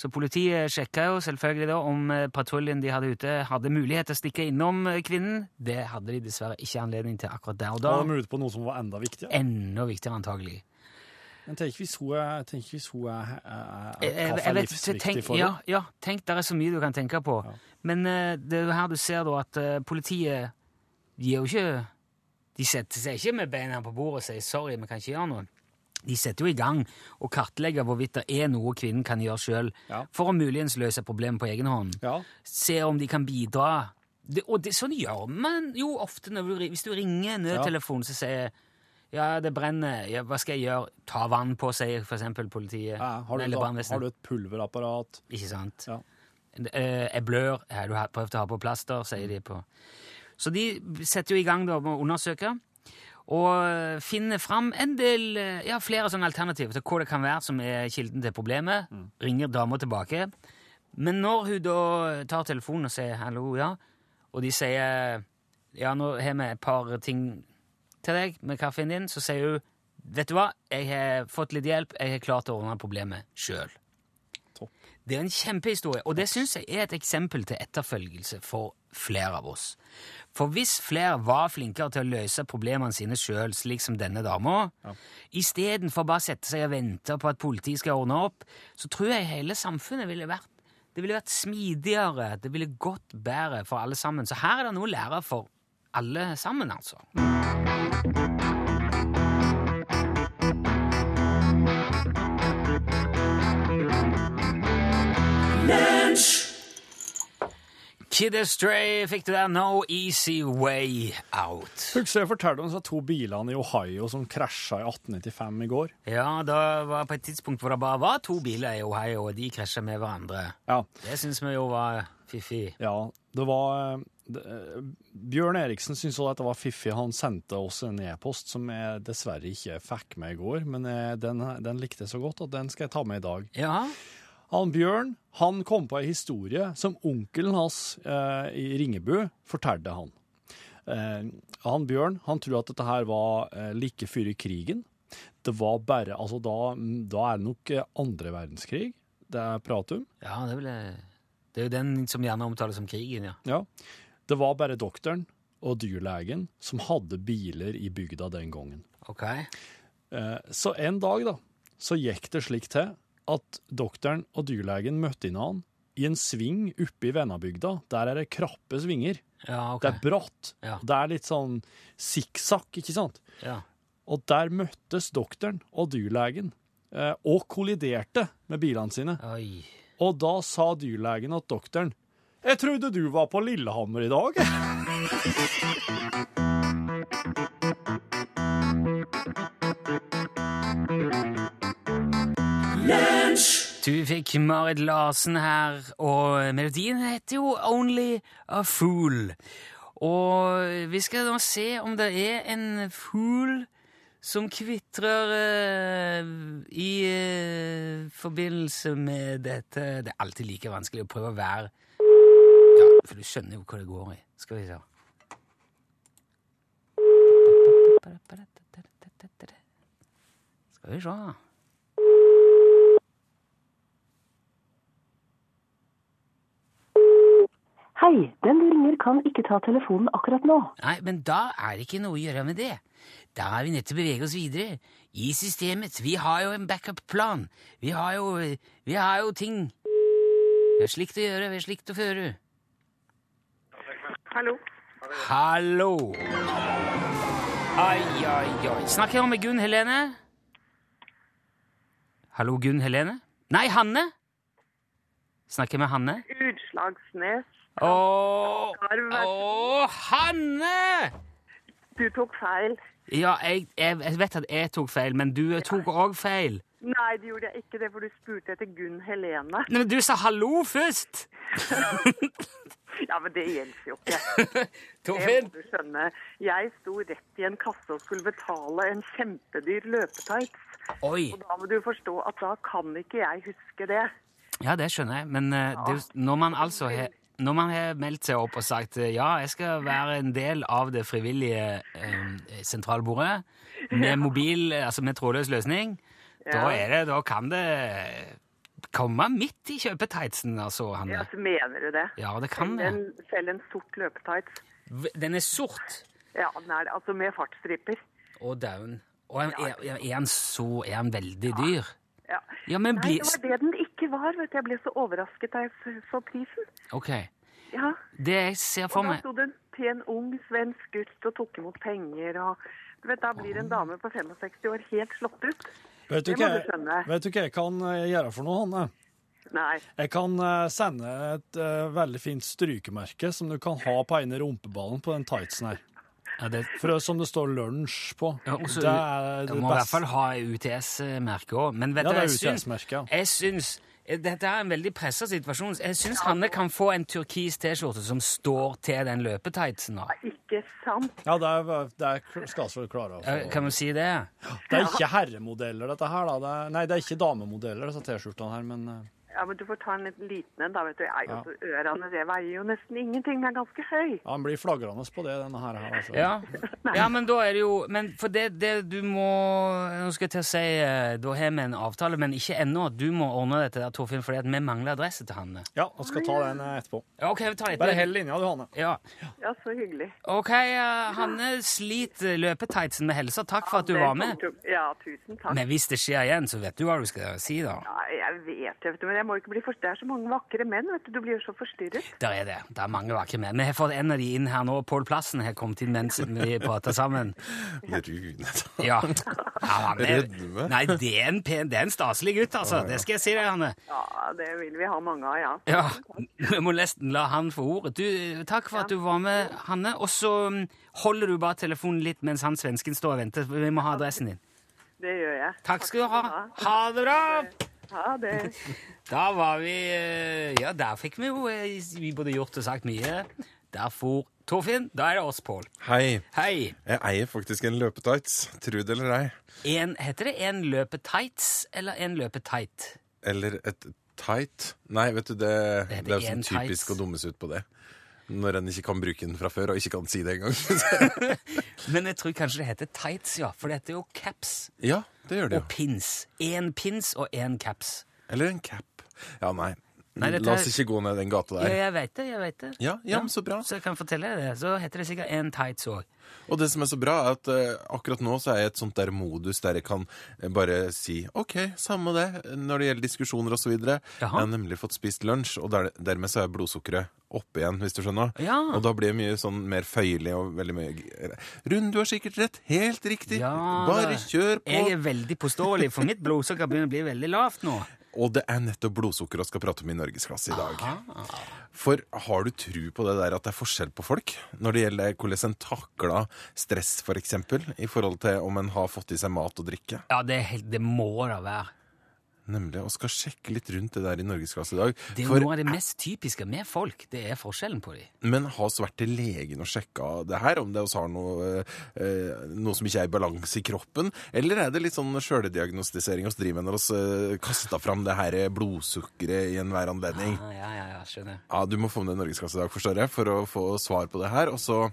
Speaker 2: Så politiet sjekka jo selvfølgelig da om eh, patruljen de hadde ute, hadde mulighet til å stikke innom eh, kvinnen. Det hadde de dessverre ikke anledning til akkurat der og da. Eh.
Speaker 5: Da var de ute på noe som var enda viktigere.
Speaker 2: Enda viktigere, antagelig.
Speaker 5: Men tenk hvis hun er, tenk hvis hun er, er,
Speaker 2: Jeg-
Speaker 5: er
Speaker 2: jeg-
Speaker 5: kaffe
Speaker 2: jeg
Speaker 5: er
Speaker 2: vet-
Speaker 5: livsviktig
Speaker 2: Eh, tenk-
Speaker 5: for
Speaker 2: ja,
Speaker 5: henne.
Speaker 2: ja, tenk, det er så mye du kan tenke på. Men eh, det er jo her du ser da at eh, politiet De er jo ikke De setter seg ikke med beina på bordet og sier 'sorry, vi kan ikke gjøre noe'. De setter jo i gang og kartlegger hvorvidt det er noe kvinnen kan gjøre sjøl,
Speaker 7: Ja.
Speaker 2: for å muligens løse problemet på egen hånd.
Speaker 7: Ja.
Speaker 2: Se om de kan bidra. Det, og det, sånn gjør man jo ofte når du, ri- hvis du ringer nødtelefonen, så sier ja, det brenner. Ja, hva skal jeg gjøre? Ta vann på, sier for eksempel politiet.
Speaker 7: Ja, har, du,
Speaker 2: eller
Speaker 7: da, har
Speaker 2: brannvesenet.
Speaker 7: du et pulverapparat?
Speaker 2: Ikke sant?
Speaker 7: Ja.
Speaker 2: Eh, Jeg blør. Har du ha- prøvd å ha på plaster? sier de på. Så de setter jo i gang da med å undersøke og finner fram en del, eh, ja, flere sånne alternativer til hva det kan være som er kilden til problemet. Ringer dama tilbake. Men når hun da tar telefonen og sier 'hallo', ja, og de sier 'ja, nå har vi et par ting til deg med kaffen din', så sier hun 'vet du hva, jeg har fått litt hjelp, jeg har klart å ordne problemet sjøl'. Det er en kjempehistorie, og det syns jeg er et eksempel til etterfølgelse for flere av oss. For hvis flere var flinkere til å løse problemene sine sjøl, slik som denne dama, istedenfor bare å sette seg og vente på at politiet skal ordne opp, så tror jeg hele samfunnet ville vært det ville vært smidigere, det ville gått bedre for alle sammen. Så her er det noe å lære for alle sammen, altså. Kid Astray fikk du der No Easy Way Out.
Speaker 7: Husker jeg fortalte om disse to bilene i Ohio som krasja i 1895 i går.
Speaker 2: Ja, det var på et tidspunkt hvor det bare var to biler i Ohio, og de krasja med hverandre.
Speaker 7: Ja,
Speaker 2: Det syns vi jo var fiffig.
Speaker 7: ja det var eh, det, eh, Bjørn Eriksen syntes også at det var fiffig. Han sendte oss en e-post som jeg dessverre ikke fikk med i går, men eh, den, den likte jeg så godt at den skal jeg ta med i dag.
Speaker 2: Ja,
Speaker 7: Han Bjørn han kom på ei historie som onkelen hans eh, i Ringebu fortalte han. Eh, han Bjørn han tror at dette her var eh, like før i krigen. Det var bare, altså da, da er det nok eh, andre verdenskrig det er prat om.
Speaker 2: ja det, ble, det er jo den som gjerne omtales som krigen, ja.
Speaker 7: Ja. Det var bare doktoren og dyrlegen som hadde biler i bygda den gangen.
Speaker 2: Ok.
Speaker 7: Eh, Så en dag da, så gikk det slik til at doktoren og dyrlegen møtte innan i en sving oppe i Vennabygda. Der er det krappe svinger.
Speaker 2: Ja, ok.
Speaker 7: Det er bratt.
Speaker 2: Ja.
Speaker 7: Det er litt sånn sikksakk, ikke sant?
Speaker 2: Ja.
Speaker 7: Og der møttes doktoren og dyrlegen, eh, og kolliderte med bilene sine.
Speaker 2: Oi.
Speaker 7: Og da sa dyrlegen og doktoren, jeg trodde du var på Lillehammer i dag.
Speaker 2: Du fikk Marit Larsen her, og melodien heter jo Only a Fool. Og vi skal nå se om det er en fugl som kvitrer eh, i eh, forbindelse med dette. Det er alltid like vanskelig å prøve å være Ja, for du skjønner jo hva det går i. Skal vi se. Skal vi se.
Speaker 9: Hei, den du ringer kan ikke ta telefonen akkurat nå.
Speaker 2: Nei, men da er det ikke noe å gjøre med det. Da er vi nødt til å bevege oss videre. I systemet. Vi har jo en backup-plan. Vi har jo Vi har jo ting. Vi har slikt å gjøre, vi har slikt å føre. Hallo. Hallo. Ai, ai, ai. Snakker jeg nå med Gunn Helene? Hallo, Gunn Helene? Nei, Hanne? Snakker jeg med Hanne?
Speaker 10: Utslagsnes.
Speaker 2: Åh,
Speaker 10: Arv, vær så
Speaker 2: åh, Hanne!
Speaker 10: Du tok feil.
Speaker 2: Ja, jeg, jeg, jeg vet at jeg tok feil, men du eh, tok òg feil.
Speaker 10: Nei, det gjorde jeg ikke det, for du spurte etter Gunn Helene.
Speaker 2: Nei, men du sa hallo først!
Speaker 10: Ja, men det gjelder jo ikke. Det
Speaker 2: Torfinn?
Speaker 10: må du skjønne. Jeg sto rett i en kasse og skulle betale en kjempedyr løpetights.
Speaker 2: Oi.
Speaker 10: Og da må du forstå at da kan ikke jeg huske det.
Speaker 2: Ja, det skjønner jeg, men eh, det, er jo- når man altså har når man har meldt seg opp og sagt eh, ja, jeg skal være en del av det frivillige eh, sentralbordet med mobil, eh, altså med trådløs løsning, da, er det, da kan det komme midt i kjøpetightsen, altså,
Speaker 10: Ja,
Speaker 2: Hanne.
Speaker 10: så mener du det?
Speaker 2: Ja, det kan det.
Speaker 10: En, selv en sort løpetights.
Speaker 2: Den er sort.
Speaker 10: Ja, den er det. Altså med fartsstriper.
Speaker 2: Og daun. Og er, er, er han så Er han veldig dyr?
Speaker 10: Ja.
Speaker 2: Ja, men
Speaker 10: Nei,
Speaker 2: bli
Speaker 10: det var det den ikke var, vet du. Jeg ble så overrasket da jeg f- så prisen.
Speaker 2: Ok.
Speaker 10: Ja.
Speaker 2: Det jeg ser for
Speaker 10: Og da
Speaker 2: meg
Speaker 10: sto det en pen ung svensk gutt og tok imot penger og Du vet, Da blir en dame på 65 år helt slått ut.
Speaker 7: Vet du
Speaker 10: Det må
Speaker 7: hva
Speaker 10: du
Speaker 7: jeg-
Speaker 10: skjønne.
Speaker 7: vet du hva jeg kan eh, gjøre for noe, Hanne?
Speaker 10: Nei.
Speaker 7: Jeg kan eh, sende et eh, veldig fint strykemerke som du kan ha på ene rumpeballen på den tightsen her.
Speaker 2: Ja, det,
Speaker 7: For det, som det står 'lunsj' på.
Speaker 2: Ja, og så-
Speaker 7: det er
Speaker 2: du
Speaker 7: det
Speaker 2: må i hvert
Speaker 7: beste.
Speaker 2: fall ha UTS-merke òg. Men vet
Speaker 7: Ja,
Speaker 2: du,
Speaker 7: det er
Speaker 2: jeg syns-
Speaker 7: UTS-merke, ja.
Speaker 2: Jeg syns eh, dette er en veldig pressa situasjon. Jeg syns Hanne kan få en turkis T-skjorte som står til den løpetightsen. da.
Speaker 10: Ikke sant?
Speaker 7: Ja, det, er, det er, skal vi klare å få.
Speaker 2: Eh, Kan du si det?
Speaker 7: Det er ikke herremodeller, dette her. da. Det er, nei, det er ikke damemodeller, disse T-skjortene her, men eh,
Speaker 10: Ja, men Du får ta en litt liten en. da, vet du. Jeg,
Speaker 7: Ja.
Speaker 10: altså, ørene det veier jo nesten ingenting. Den er ganske høy.
Speaker 7: ja, han blir flagrende på det, denne her. her, altså.
Speaker 2: Ja. ja, men da er det jo Men for det, det du må Nå skal jeg til å si eh, Da har vi en avtale, men ikke ennå. Du må ordne dette, der, Torfinn, fordi at vi mangler adresse til Hanne.
Speaker 7: Ja, og skal ta den eh, etterpå.
Speaker 2: Ja, OK, vi tar
Speaker 7: Bare
Speaker 2: etter.
Speaker 7: hell linja, du, Hanne.
Speaker 2: Ja.
Speaker 10: Ja, Så hyggelig.
Speaker 2: OK, eh, Hanne sliter løpetightsen med helsa. Takk for at du
Speaker 10: Det
Speaker 2: var
Speaker 10: kommer
Speaker 2: med.
Speaker 10: til å- Ja, tusen takk.
Speaker 2: Men hvis det skjer igjen, så vet du hva du skal si, da.
Speaker 10: Nei, jeg vet det, vet du, men jeg må ikke bli for... Det er så mange vakre menn, vet du. Du blir jo så forstyrret.
Speaker 2: Der er det. Det er mange vakre menn. Vi har fått en av de inn her nå. Pål Plassen har kommet inn mens vi prater sammen.
Speaker 11: Rune.
Speaker 2: Ja. ja han er,
Speaker 11: Rødme.
Speaker 2: nei, det er en pen, det er en staselig gutt, altså. Det skal jeg si deg, Hanne.
Speaker 10: Ja, det vil vi ha mange av, ja.
Speaker 2: Ja, Vi må nesten la han få ordet. Du, eh, takk for at du var med, Hanne. Og så mm, holder du bare telefonen litt mens han svensken står og venter. for Vi må ha adressen din.
Speaker 10: Det gjør jeg.
Speaker 2: Takk skal du ha. Ha det bra!
Speaker 10: Ha det.
Speaker 2: Da var vi eh, Ja, der fikk vi jo eh, Vi både gjort og sagt mye. Der for Torfinn. Da er det oss, Pål.
Speaker 11: Hei.
Speaker 2: Hei.
Speaker 11: Jeg eier faktisk en løpetights, tro det eller ei.
Speaker 2: En, heter det en løpetights eller en løpetight?
Speaker 11: Eller et tight. Nei, vet du, det, det
Speaker 2: heter
Speaker 11: er jo
Speaker 2: en
Speaker 11: sånn typisk
Speaker 2: tights.
Speaker 11: å dummes ut på det. Når en ikke kan bruke den fra før, og ikke kan si det engang.
Speaker 2: Men jeg tror kanskje det heter tights, ja. For det heter jo caps
Speaker 11: ja, det gjør det
Speaker 2: og
Speaker 11: jo.
Speaker 2: pins. Én pins og én caps.
Speaker 11: Eller en cap. Ja, nei.
Speaker 2: Nei, dette
Speaker 11: La oss
Speaker 2: er-
Speaker 11: ikke gå ned den gata
Speaker 2: Ja,
Speaker 11: der.
Speaker 2: jeg veit det. jeg vet det.
Speaker 11: Ja, ja, men så bra.
Speaker 2: Så jeg kan fortelle deg det. Så heter det sikkert en tights òg.
Speaker 11: Og det som er så bra, er at eh, akkurat nå så er jeg i et sånt der modus der jeg kan eh, bare si OK, samme det, når det gjelder diskusjoner og så videre. Jeg
Speaker 2: Jaha.
Speaker 11: har nemlig fått spist lunsj, og der, dermed så er blodsukkeret oppe igjen, hvis du skjønner.
Speaker 2: Ja.
Speaker 11: Og da blir jeg mye sånn mer føyelig og veldig mye g- Rund, du har sikkert rett. Helt riktig.
Speaker 2: Ja,
Speaker 11: bare
Speaker 2: da.
Speaker 11: kjør på.
Speaker 2: Jeg er veldig påståelig, for mitt blodsukker begynner å bli veldig lavt nå.
Speaker 11: Og det er nettopp blodsukker vi skal prate om i Norgesklasse i dag. For har du tru på det der at det er forskjell på folk når det gjelder hvordan en takler stress, f.eks., for eksempel, i forhold til om en har fått i seg mat og drikke?
Speaker 2: Ja, det, er helt- det må da være.
Speaker 11: Nemlig. Og skal sjekke litt rundt det der i Norgesklasse i dag.
Speaker 2: Det er jo
Speaker 11: For,
Speaker 2: noe av det mest typiske med folk. Det er forskjellen på dem.
Speaker 11: men har vi vært til legen og sjekka det her, om det oss har noe, eh, eh, noe som ikke er i balanse i kroppen? Eller er det litt sånn sjøldiagnostisering oss driver med når vi eh, kaster fram det her blodsukkeret i enhver anledning?
Speaker 2: Ja, Ah, ja, ja, ja, skjønner.
Speaker 11: Ja, du må få med deg Norgesklasse i dag, forstår jeg, for å få svar på det her. Og så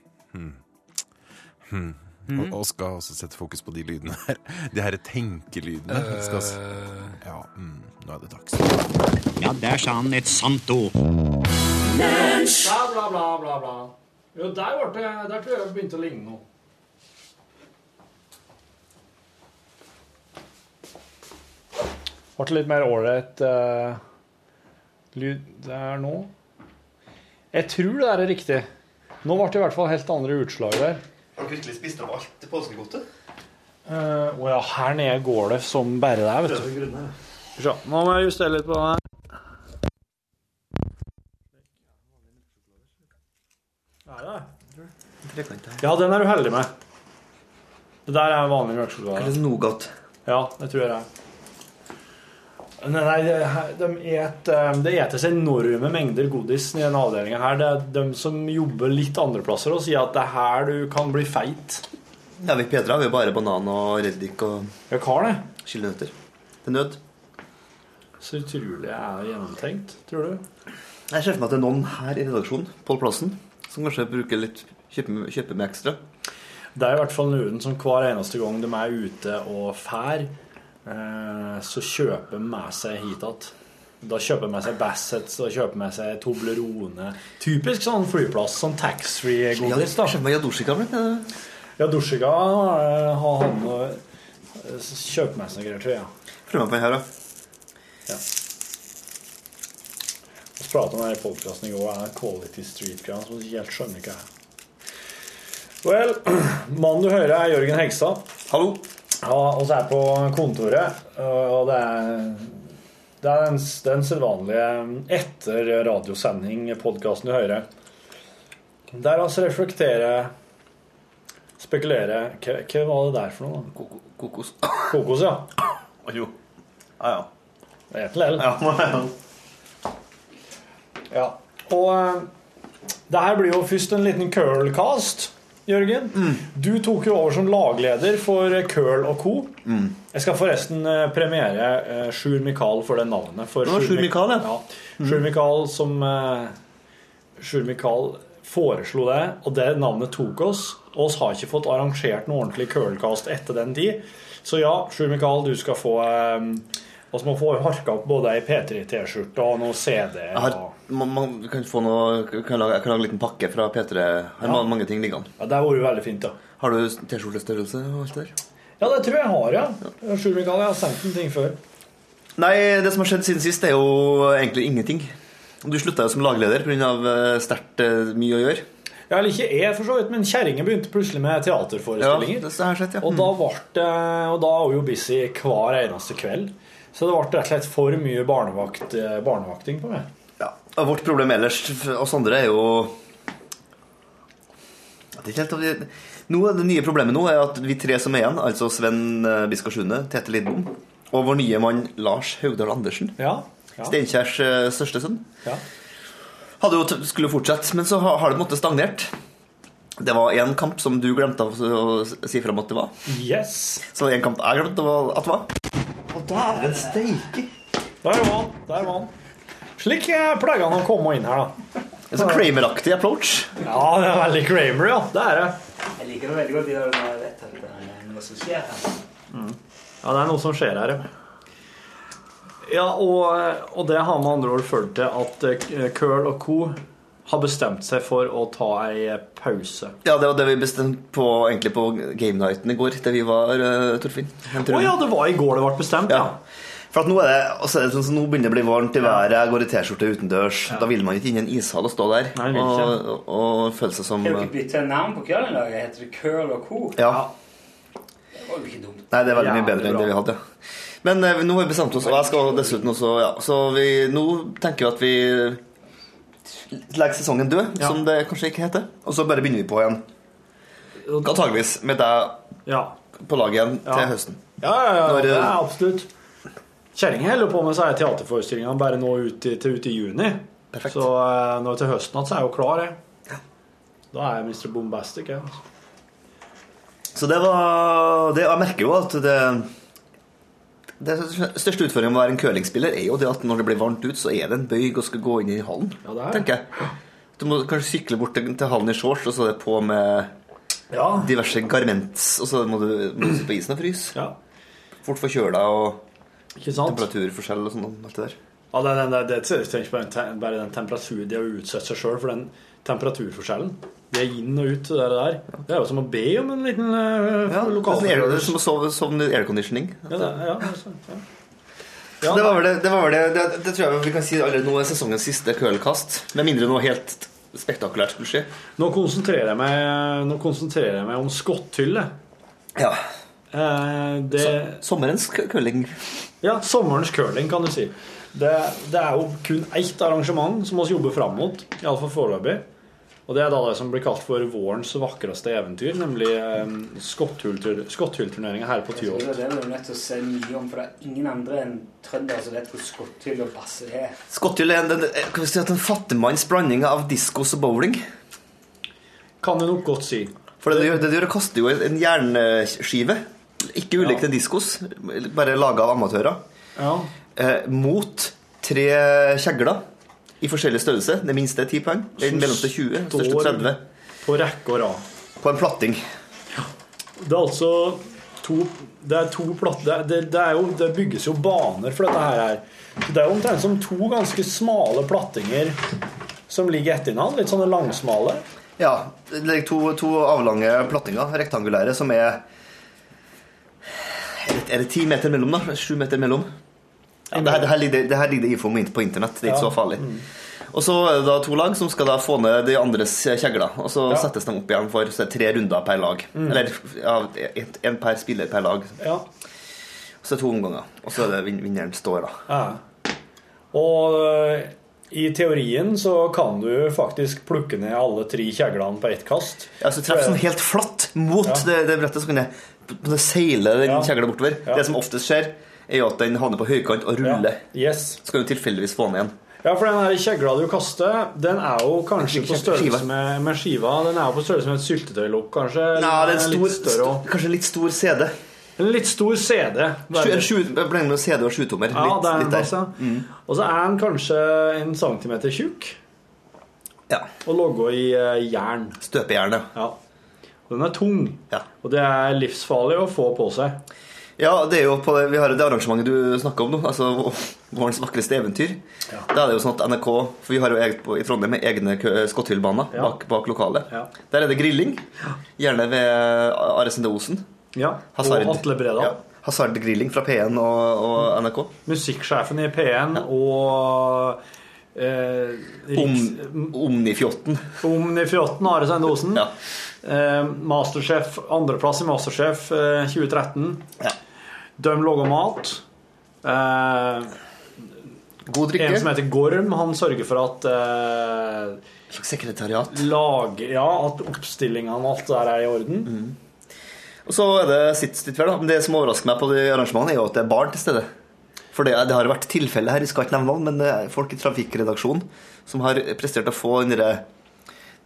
Speaker 11: hmm. Hmm. Og, og skal også sette fokus på de lydene her. De her tenkelydene. Skal s- ja, mm, nå er det dags.
Speaker 12: Ja, der sa han et sant ord.
Speaker 7: Bla, bla, bla, bla, bla. Jo, der ble det Der tror jeg det begynte å ligne noe. Ble det litt mer ålreit eh, lyd der nå? Jeg tror det der er riktig. Nå ble det i hvert fall helt andre utslag der.
Speaker 12: Har du virkelig spist opp alt påskegodtet?
Speaker 7: Eh, Å ja, her nede går det som bare det, vet du. Skal vi se. Nå må jeg justere litt på den her. Ja, den er du heldig med. Det der er en vanlig mjølkechokolade.
Speaker 12: Nougat.
Speaker 7: Ja, det tror jeg det er. Nei, nei, det her- de et, eh, det etes enorme mengder godis i denne avdelingen her. Det er de som jobber litt andre plasser og sier at det er her du kan bli feit.
Speaker 12: Ja, vi Pedra har jo bare banan og reddik og
Speaker 7: Jeg har det.
Speaker 12: skillenøtter. Til nød.
Speaker 7: Så utrolig er det gjennomtenkt, tror du?
Speaker 12: Jeg ser for meg at det er noen her i redaksjonen, Pål Plassen, som kanskje bruker litt kjøper, kjøper med ekstra.
Speaker 7: Det er i hvert fall noen som hver eneste gang de er ute og fær, eh, så kjøper de med seg hit igjen. Da kjøper de med seg Bassets og kjøper med seg Toblerone. Typisk sånn flyplass, sånn
Speaker 12: Ja, jeg
Speaker 7: taxfree-godis. da.
Speaker 12: ser for meg Yadoshika blant annet.
Speaker 7: Ja, Dusjika eh, har han og eh, kjøper med seg noe greier, tror jeg.
Speaker 12: Prøv meg på den her, da.
Speaker 7: Vi eh, pratet om her i podkasten i går, er quality street-greiene som vi ikke helt skjønner hva er. Vel, mannen du hører er Jørgen Hegstad. Hallo. Ja, og så er jeg på kontoret, og det er, det er den, den sedvanlige mm, etter radiosending-podkasten du hører. Der altså reflektere, spekulere hva, hva var det der for noe? da? Kokos. Kokos, ja. Jo. Ja, ja. Det er et lell.
Speaker 10: Ja,
Speaker 7: Ja. Og eh, det her blir jo først en liten curlcast, Jørgen.
Speaker 10: Mm.
Speaker 7: Du tok jo over som lagleder for eh, Curl og co.
Speaker 10: Mm.
Speaker 7: Jeg skal forresten eh, premiere eh, Sjur Mikael for det navnet. For
Speaker 10: Nå, Sjur Mikael, ja.
Speaker 7: Sjur Mikael som eh, Sjur Mikael foreslo det, og det navnet tok oss. Og oss har ikke fått arrangert noe ordentlig curlcast etter den tid. Så ja, Sjur Mikael, du skal få eh, oss må få harka opp både ei P3-T-skjorte og noen CD-er.
Speaker 10: Jeg har, man, man kan få noe kan jeg, lage, jeg kan lage en liten pakke fra P3. Jeg har
Speaker 7: Ja.
Speaker 10: mange ting liggende.
Speaker 7: Ja, Det har vært veldig fint, da.
Speaker 10: Har du T-skjortestørrelse og alt det der?
Speaker 7: Ja, det tror jeg har, ja. Sjur Mikael, jeg har sendt en ting før.
Speaker 10: Nei, det som har skjedd siden sist, er jo egentlig ingenting. Du slutta jo som lagleder pga. sterkt eh, mye å gjøre.
Speaker 7: Ja, eller ikke jeg, for så vidt, men kjerringa begynte plutselig med teaterforestillinger.
Speaker 10: Ja, det har skjedd, ja.
Speaker 7: Og da ble det Og da var vi jo busy hver eneste kveld. Så det ble rett og slett for mye barnevakt, eh, barnevakting på meg.
Speaker 10: Og Vårt problem ellers for oss andre er jo Det er ikke helt om vi- Nå er det nye problemet nå er at vi tre som er igjen, altså Sven eh, Biskars Hunde, Tete Lidbom og vår nye mann Lars Haugdal Andersen,
Speaker 7: ja,
Speaker 10: Steinkjærs eh, største sønn,
Speaker 7: Ja.
Speaker 10: hadde jo t skulle fortsette, men så har, har det på en måte stagnert. Det var én kamp som du glemte å å si fra om at det var.
Speaker 7: Yes.
Speaker 10: Så en kamp jeg glemte å- at det var. Å, dæven steike!
Speaker 7: Der var han. der var han Slik eh, pleier han å komme inn her, da.
Speaker 10: En sånn Kramer-aktig approach.
Speaker 7: Ja, det er veldig Kramer, ja. Det er det.
Speaker 13: Jeg liker det veldig godt de der når jeg vet at det er noe som skjer her.
Speaker 7: Mm. Ja, det er noe som skjer her, ja. Ja, og, og det har med andre ord ført til at eh, Curl og co. har bestemt seg for å ta ei eh, pause.
Speaker 10: Ja, det var det vi bestemte på, egentlig på game nighten i går, der vi var, eh, Torfinn. Å
Speaker 7: Å ja, det var i går det ble bestemt,
Speaker 10: ja. For at nå, er det, altså, det er sånn, som nå begynner det å bli varmt i været, jeg går i T-skjorte utendørs. Da vil man ikke inn i en ishall og stå der
Speaker 13: vil
Speaker 10: og,
Speaker 13: ikke.
Speaker 10: og, og føle seg som
Speaker 13: Har dere bytta navn på kvelden i dag? Heter det Curl og Co?
Speaker 10: Ja.
Speaker 13: Det var jo ikke dumt.
Speaker 10: Nei, det er veldig mye
Speaker 13: Jævlig
Speaker 10: bedre enn
Speaker 13: bra.
Speaker 10: det vi hadde. Men eh, nå har vi bestemt oss, og jeg skal dessuten også ja. Så vi, nå tenker vi at vi legger sesongen død, som det kanskje ikke heter. Og så bare begynner vi på igjen. Antageligvis med deg på laget igjen til høsten.
Speaker 7: Ja, ja, ja,
Speaker 10: Når,
Speaker 7: det er
Speaker 10: eh,
Speaker 7: absolutt. Kjerringa holder på med seg teaterforestillingene bare nå ut i, til ut i juni. Så eh, nå til høsten at så er jeg jo klar, jeg. Da er jeg Mr. Bombastic, jeg. altså.
Speaker 10: Så det var ah, det, og Jeg merker jo at det det største utfordringen med å være en curlingspiller er jo det at når det blir varmt ut, så er det en bøyg og skal gå inn i hallen. tenker jeg. Du må kanskje sykle bort til til hallen i shorts, og så er det på med diverse garments, og så må du, må du sitte på isen og fryse. Fort forkjøla og temperaturforskjell og sånn. og alt det der.
Speaker 7: Ja, det, det, det, det jeg tenker på den te- bare den temperaturen de har utsatt seg sjøl for den temperaturforskjellen. Det er inn og ut, det der. Det er jo som å be om en liten uh, ja,
Speaker 10: Det er sånn air- det er som å sove, sovne i airconditioning.
Speaker 7: Ja, det, ja, det er sant, ja. Ja,
Speaker 10: det, var vel det, det, var vel det, det, det tror jeg vi kan si allerede nå er sesongens siste curlkast. Med mindre noe helt spektakulært skulle skje.
Speaker 7: Nå konsentrerer jeg meg, nå konsentrerer jeg meg om skotthylle.
Speaker 10: Ja.
Speaker 7: Eh, det,
Speaker 10: sommerens curling.
Speaker 7: Ja, sommerens curling, kan du si. Det, det er jo kun ett arrangement som vi jobber fram mot, iallfall foreløpig. Og det er da det som blir kalt for vårens vakreste eventyr, nemlig eh, skotthulltur- skotthullturneringa her på
Speaker 13: Jeg tror
Speaker 7: Tyholt.
Speaker 13: Det er du nødt til å se mye om, for det er ingen andre enn trøndere som vet hvor skotthyll og basse er.
Speaker 10: Skotthyll er en, den- kan vi si at en fattigmanns blanding av diskos og bowling.
Speaker 7: Kan du nok godt si.
Speaker 10: For det du gjør, det du gjør er å kaste jo en jernskive, ikke ulikt en diskos, bare laga av amatører,
Speaker 7: Ja.
Speaker 10: eh, mot tre kjegler i forskjellig størrelse. Den minste er 10 poeng, den
Speaker 7: Som
Speaker 10: mellomste 20, den
Speaker 7: står
Speaker 10: største 30.
Speaker 7: På rekke og rad.
Speaker 10: På en platting.
Speaker 7: Det er altså to Det er to plat- det, er- det, det er jo, det bygges jo baner for dette her. her. Så Det er jo omtrent som to ganske smale plattinger som ligger etter hverandre. Litt sånne langsmale.
Speaker 10: Ja. Det ligger to, to avlange plattinger, rektangulære, som er Er det- er det ti meter mellom, da? Sju meter mellom? Ja, det, her, det, her ligger, det her ligger det info om inn- på internett. Det er ikke
Speaker 7: Ja.
Speaker 10: så farlig. Og så er det da to lag som skal da få ned de andres kjegler. Og så
Speaker 7: Ja.
Speaker 10: settes de opp igjen for så er det tre runder per lag.
Speaker 7: Mm.
Speaker 10: Eller ja, en, en per spiller per lag.
Speaker 7: Ja.
Speaker 10: Og så er det to omganger. Og så er det vin- vinneren står, da.
Speaker 7: Ja. Og eh, i teorien så kan du faktisk plukke ned alle tre kjeglene på ett kast.
Speaker 10: Ja, så treffer sånn helt flatt mot det, det brettet, så kan jeg på en måte seile den kjegla bortover. Det som oftest skjer, er jo at den havner på høykant og ruller. Så kan du tilfeldigvis få den igjen.
Speaker 7: Ja, for den her kjegla du kaster, den er jo kanskje på
Speaker 10: Ikke kjegle, skiva.
Speaker 7: størrelse med, med skiva. Den er jo på størrelse med et syltetøylokk, kanskje.
Speaker 10: Nei, det er en
Speaker 7: Den
Speaker 10: stor,
Speaker 7: litt større også.
Speaker 10: st- kanskje litt stor CD.
Speaker 7: En litt stor CD.
Speaker 10: Sju, en sju, jeg blander mellom CD og sjutommer.
Speaker 7: Ja,
Speaker 10: litt,
Speaker 7: det er en
Speaker 10: litt der.
Speaker 7: masse.
Speaker 10: Mm.
Speaker 7: Og så er den kanskje en centimeter tjukk. Og logga i eh, jern.
Speaker 10: Støpejern,
Speaker 7: ja. Og den er tung. Og det er livsfarlig å få på seg.
Speaker 10: Ja, det er jo på det, vi har det arrangementet du snakker om nå, altså vårens vakreste eventyr. Da er det jo sånn at NRK, for vi har jo eget, på- i Trondheim med egne kø- skotthyllbaner bak, bak lokalet. Der er det grilling, gjerne ved Are Sende Osen.
Speaker 7: Ja,
Speaker 10: Hazard.
Speaker 7: Og Atle Breda.
Speaker 10: Hasardgrilling fra P1 og, og NRK.
Speaker 7: Musikksjefen i P1 og eh, Riks-
Speaker 10: Omnifjotten.
Speaker 7: Omnifjotten Are Sende Osen. Eh, masterchef, andreplass i Masterchef eh, 2013. Døm lager mat. Eh,
Speaker 10: God drikke.
Speaker 7: En som heter Gorm, han sørger for at eh,
Speaker 10: Sekretariat.
Speaker 7: Lag, ja, at oppstillingene og alt det der er i
Speaker 10: Mm.
Speaker 7: orden.
Speaker 10: Og så er det sitt sitt hver, da. Men det som overrasker meg på de arrangementene, er jo at det er barn til stede. For det, det har vært tilfelle her, jeg skal ikke nevne navn, men det er folk i trafikkredaksjonen som har prestert å få den derre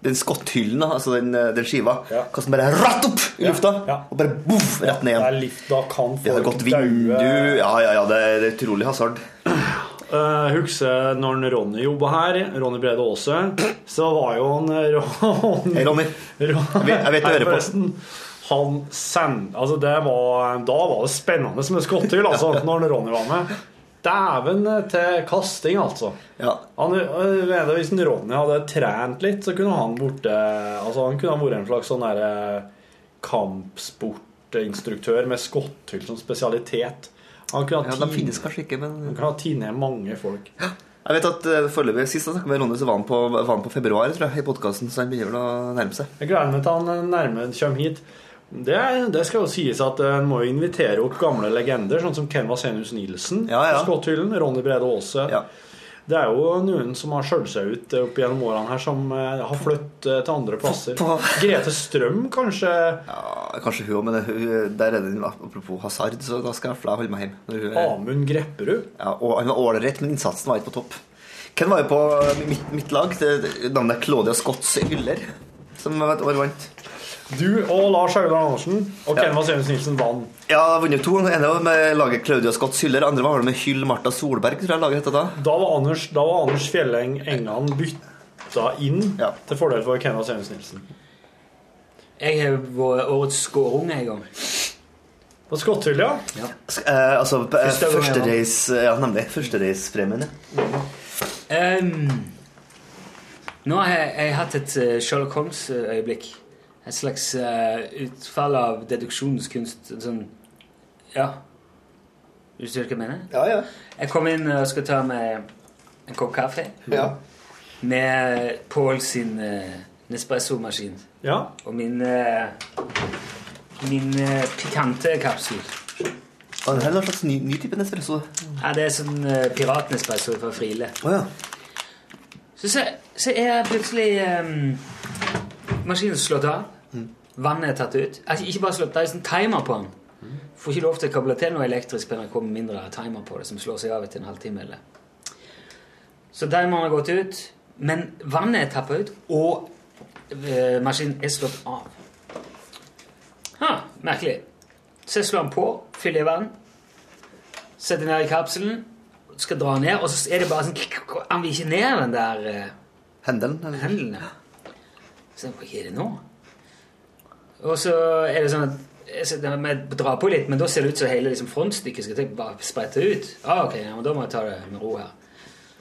Speaker 10: den skotthyllen, da, altså den, den skiva, kaster bare rett opp i lufta og bare boff, rett ned igjen.
Speaker 7: Da kan
Speaker 10: Det har
Speaker 7: folk
Speaker 10: gått vindu Ja, ja, ja, det er det er utrolig hasard.
Speaker 7: Eh, Husker når en Ronny jobba her, Ronny Brede Aase, så var jo han eh, Ron,
Speaker 10: Hei, Ronny.
Speaker 7: Ron,
Speaker 10: vet- jeg vet du
Speaker 7: Nei,
Speaker 10: hører på.
Speaker 7: forresten, Han send, altså det var, da var det spennende som en skotthyll, altså, når han Ronny var med. Dæven til kasting, altså. Han, jeg mener, hvis en Ronny hadde trent litt, så kunne han borte altså, Han kunne ha vært en slags sånn derre kampsportinstruktør med skotthyll som spesialitet. Han kunne ha
Speaker 10: Ja, de finnes kanskje ikke, men
Speaker 7: Han kunne ha tatt ned mange folk.
Speaker 10: Jeg vet at eh, foreløpig Sist jeg snakket med Ronny, så var han på, var han på februar, tror jeg, i podkasten, så han begynner vel å nærme seg.
Speaker 7: Jeg gleder meg til han eh, nærmere kommer hit. Det, er- det skal jo sies at eh, en må jo invitere opp gamle legender, sånn som Ken Vasenius Nilsen på Skotthyllen. Ronny Brede Aase. Det er jo noen som har skjølt seg ut eh, opp gjennom årene her, som eh, har flyttet eh, til andre plasser. Grete Strøm, kanskje?
Speaker 10: Ja, kanskje hun òg, men hun, der er den apropos hasard, så da skal jeg fla holde meg hjemme. når hun er-
Speaker 7: Amund Grepperud?
Speaker 10: Ja, og han var ålreit, men innsatsen var ikke på topp. Hvem var jo på mitt, mitt lag? Det- det- Navnet er Claudia Scotts Yller, som var et år vant.
Speaker 7: Du og Lars Augland Andersen og
Speaker 10: Ja.
Speaker 7: Ken Vasenius Nilsen vant.
Speaker 10: Ja, jeg har vunnet to. Den ene var med laget Claudia Scotts Yller, andre var vel med Hyll Martha Solberg, tror jeg laget het da.
Speaker 7: Da var Anders, da var Anders Fjelleng Engan bytta inn til fordel for Ken Vasenius Nilsen.
Speaker 2: Jeg har vært årets skårunge en gang.
Speaker 7: På Skotthyll, ja?
Speaker 10: Sk- Eh, altså, p- eh,
Speaker 2: Første gangen, ja.
Speaker 10: førstereis Ja, nemlig. Førstereispremien, ja.
Speaker 2: Ehm, nå har jeg, jeg hatt et eh, Sherlock Holmes-øyeblikk. Et slags eh, utfall av deduksjonskunst. en Sånn Ja. Hvis du skjønner hva jeg mener?
Speaker 10: Ja, ja.
Speaker 2: Jeg kom inn og skal ta meg en kopp kaffe.
Speaker 10: Ja.
Speaker 2: Med Pål sin eh, Nespresso-maskin.
Speaker 7: Ja.
Speaker 2: Og min eh, Min eh, pikante kapsul.
Speaker 10: Og det her er en slags ny, ny type Nespresso.
Speaker 2: Ja, det er sånn eh, piratnespresso fra Friele.
Speaker 10: Å ja.
Speaker 2: Så, så, så er plutselig eh, maskinen slått av.
Speaker 10: Mm.
Speaker 2: Vannet er tatt ut. Altså, ikke bare slått, Det er sånn timer på den.
Speaker 10: Mm.
Speaker 2: Får ikke lov til å koble til noe elektrisk på NRK med mindre det er timer på det som slår seg av etter en halvtime. eller Så timeren har gått ut, men vannet er tappa ut, og eh, maskinen er slått av. Ha, merkelig. Så jeg slår den på, fyller i vann, setter ned i kapselen, skal dra ned, og så er det bare sånn Han vil ikke ned den der eh,
Speaker 10: Hendelen? eller?
Speaker 2: Så jeg, hva er det nå? Og så er det sånn at jeg ser- den- jeg drar på litt, men da ser det ut som hele liksom, frontstykket skal til- bare sprette ut. Ah, ok, ja, men Da må jeg ta det med ro her.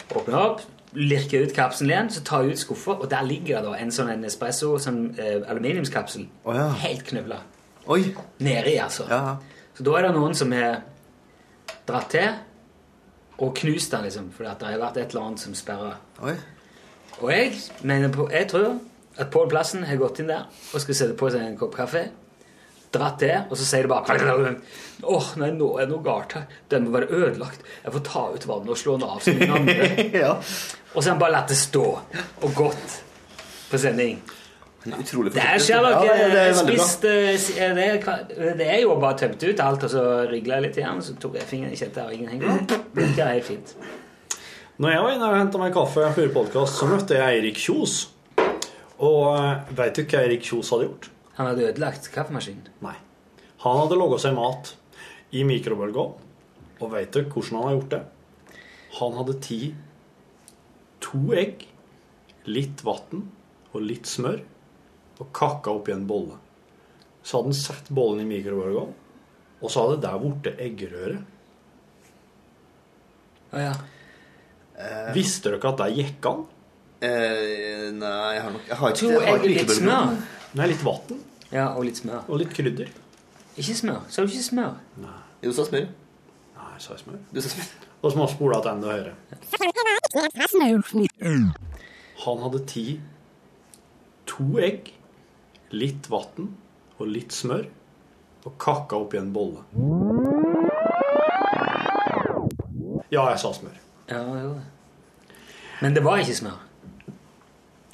Speaker 2: Åpner opp, lirker ut kapselen igjen, så tar jeg ut skuffa, og der ligger det da en sånn en espresso, sånn eh, aluminiumskapsel. Helt knøvla.
Speaker 10: Oi.
Speaker 2: Nedi, altså. Så da er det noen som har dratt til og knust den, liksom, fordi at det har vært et eller annet som sperrer.
Speaker 10: Oi.
Speaker 2: Og jeg, mener på, jeg tror at Pål Plassen har gått inn der og skal sette på seg en kopp kaffe. Dratt det, og så sier det bare Åh, nei, nå er det noe galt her. Den må være ødelagt. Jeg får ta ut vannet og slå den av som den andre. Og så har han bare latt det stå og gått på sending.
Speaker 10: Utrolig
Speaker 2: Det her
Speaker 10: forsiktig.
Speaker 2: skjer nok.
Speaker 10: Ja, det- det er
Speaker 2: jeg
Speaker 10: veldig bra.
Speaker 2: spiste eh, s- eh, det, er kva- det er jo bare tømt ut alt, og så rigla jeg litt igjen. Så tok jeg fingeren i kjetta, og ingen henger. Det er helt fint.
Speaker 7: Når jeg var inne og henta meg kaffe før podkast, så møtte jeg Eirik Kjos. Og veit du hva Eirik Kjos hadde gjort?
Speaker 2: Han hadde ødelagt kaffemaskinen.
Speaker 7: Nei. Han hadde laga seg mat i mikrobølgeovn. Og veit du hvordan han har gjort det? Han hadde ti to egg, litt vann og litt smør, og kakka oppi en bolle. Så hadde han satt bollen i mikrobølgeovn, og så hadde det der borte eggerøre.
Speaker 2: ja.
Speaker 7: Visste dere at det gikk an?
Speaker 10: nei, jeg har nok jeg har
Speaker 2: To egg, litt smør.
Speaker 7: Nei, litt vann.
Speaker 2: Ja, og litt smør.
Speaker 7: Og litt krydder.
Speaker 2: Ikke smør. Sa du ikke smør?
Speaker 10: Jo, sa smør.
Speaker 7: Nei, sa jeg smør?
Speaker 10: Du sa smør.
Speaker 7: Og så må jeg spole til enda høyere. Han hadde ti to egg, litt vann og litt smør, og kakka oppi en bolle. Ja, jeg sa smør.
Speaker 2: Ja, jo. Men det var ikke smør.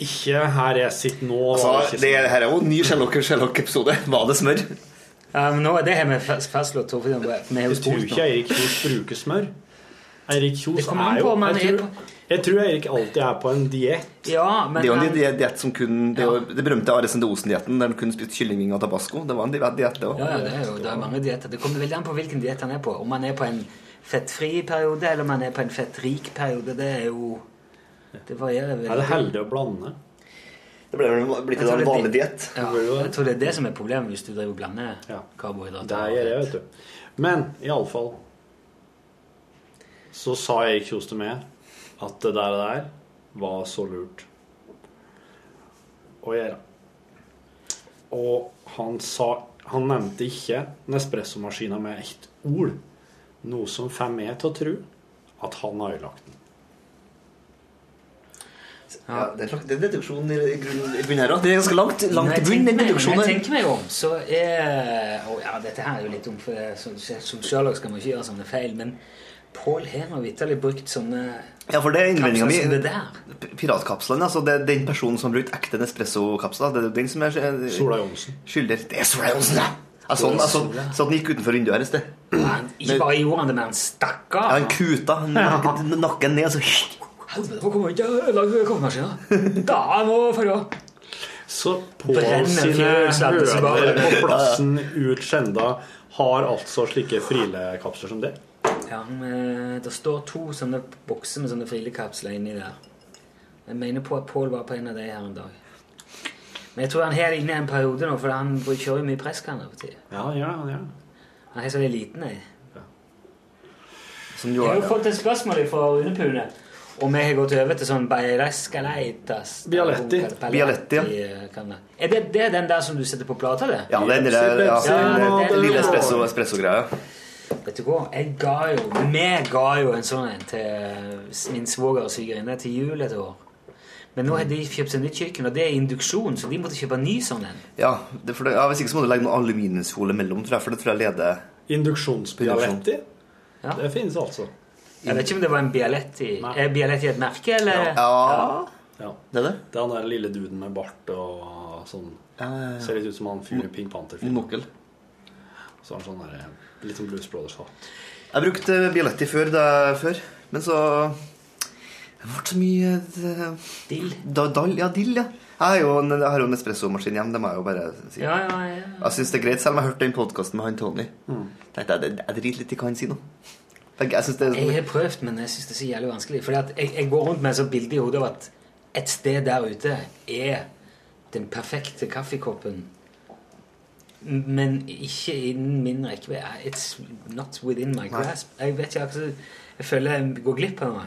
Speaker 7: Ikke her jeg sitter nå. var
Speaker 10: Altså,
Speaker 7: det
Speaker 10: det
Speaker 7: ikke smør.
Speaker 10: her er jo en ny Sherlock-episode. Var det smør?
Speaker 2: Ja, men nå er det her med fast- fastslått Torfinn, vi er jo
Speaker 7: Jeg tror
Speaker 2: spurt nå.
Speaker 7: ikke Eirik Kjos bruker smør. Eirik Kjos
Speaker 2: Det kommer an
Speaker 7: er jo
Speaker 2: på om han
Speaker 7: jeg
Speaker 2: er
Speaker 7: tror, jeg tror Eirik alltid er på en diett.
Speaker 2: Ja,
Speaker 10: Det er jo en diet diet som kun Det, er jo det berømte Are Sende-Osen-dietten der de kun spiste kyllingvinger og tabasco. Det var en diet, diet det
Speaker 2: Ja, ja, det er jo det er mange dietter. Det kommer veldig an på hvilken diett han er på. Om han er på en fettfri periode, eller om han er på en fettrik periode, det er jo Det varierer veldig.
Speaker 7: Er det heldig å blande?
Speaker 10: Det ble vel blitt en vanlig diett.
Speaker 2: Ja, jeg tror det er det som er problemet hvis du driver og blander karbohydrater.
Speaker 7: Det gjør jeg, vet du. Men iallfall så sa Erik Kjos til meg at det der, der var så lurt å gjøre. Og han sa Han nevnte ikke Nespresso-maskina med ett ord. Noe som får meg til å tro at han har ødelagt den.
Speaker 10: Ja, det er slakt- det er deduksjon i, i grunnen- i bunnen her òg. Det er ganske langt, langt
Speaker 2: Når
Speaker 10: i
Speaker 2: jeg tenker
Speaker 10: bunnen, den
Speaker 2: meg- Når
Speaker 10: deduksjonen.
Speaker 2: jeg tenker meg om, så er Å ja, dette her er jo litt dumt, for det er som, som Sherlock skal man ikke gjøre sånne feil, men Pål har nå vitterlig brukt sånne
Speaker 10: Ja, for det er innvendinga
Speaker 2: kapsler som det der.
Speaker 10: mi. P- Piratkapselen, altså. Det er den personen som har brukt ekte Nespresso-kapsler. Det er den som er eh,
Speaker 7: Sola Johnsen.
Speaker 10: skyldig. Det er Sola Johnsen, ja! Altså,
Speaker 2: Det
Speaker 10: han,
Speaker 2: er
Speaker 10: altså,
Speaker 2: Sola.
Speaker 10: så han gikk utenfor vinduet her i sted.
Speaker 2: Ikke bare gjorde han det, men han stakk
Speaker 10: Ja,
Speaker 2: av.
Speaker 10: han kuta han nakket- nakken ned, så
Speaker 2: Helvete, hvorfor kommer ikke jeg ødelegge kaffemaskinen? Da må jeg dra.
Speaker 7: Så Pål
Speaker 2: Brenner
Speaker 7: sine
Speaker 2: fjøslandet som bare-
Speaker 7: høner på plassen ut Skjenda har altså slike frilekapsler som det.
Speaker 2: Ja, men, eh, det står to sånne bokser med sånne frilekapsler inni der. Jeg mener på at Pål var på en av de her en dag. Men jeg tror han har det inne i en periode nå, for han kjører jo mye presskann av og til.
Speaker 7: Ja, han gjør det. Han gjør det.
Speaker 2: Han har så liten, jeg.
Speaker 10: Som
Speaker 2: Jeg har jo
Speaker 10: gjorde
Speaker 2: fått et spørsmål fra Rune Pune. Om jeg har gått over til sånn Beirescaleitas
Speaker 10: Bialetti. Bialetti, ja.
Speaker 2: Er eh, det, det er den der som du setter på plata, det?
Speaker 10: Ja, det er den der ja,
Speaker 2: Pepsi,
Speaker 10: den
Speaker 2: Pepsi.
Speaker 10: der lille espresso- espresso-greia.
Speaker 2: Vet du hva? Jeg ga jo, vi ga jo en sånn en til eh, min svoger og svigerinne til jul et år. Men nå har de kjøpt seg nytt kjøkken, og det er induksjon, så de måtte kjøpe en ny sånn en.
Speaker 10: Ja, det, for det, ja, hvis ikke så må du legge noe aluminiumsfolie mellom, tror jeg, for det tror jeg leder
Speaker 7: Induksjonsbialetti? Det finnes altså.
Speaker 2: Jeg vet ikke om det var en Bialetti. Er Bialetti et merke, eller?
Speaker 7: Ja.
Speaker 10: Det er det?
Speaker 7: Det er han der lille duden med bart og sånn. Ser litt ut som han fyren i Pink Panther.
Speaker 10: Monokkel.
Speaker 7: Så har han sånn der, litt som Blues Brothers-hatt.
Speaker 10: Jeg brukte Bialetti før, da, før men så Det ble så mye det-
Speaker 2: Dill?
Speaker 10: Da, dall, ja, dill, ja. Jeg har jo en, jeg har jo en espressomaskin hjemme. Det må jeg jo bare si.
Speaker 2: Ja, ja, ja.
Speaker 10: Jeg syns det er greit, selv om jeg hørte den podkasten med han Tony. Tenkte jeg, det- Jeg driter litt i hva han sier nå. Jeg, jeg synes det er
Speaker 2: Jeg har prøvd, men jeg syns det er så jævlig vanskelig. Fordi at jeg, jeg går rundt med et sånt bilde i hodet av at et sted der ute er den perfekte kaffekoppen. Men ikke innen min rekkevidde. It's not within my grasp. Jeg vet ikke akkurat Jeg føler jeg går glipp av noe.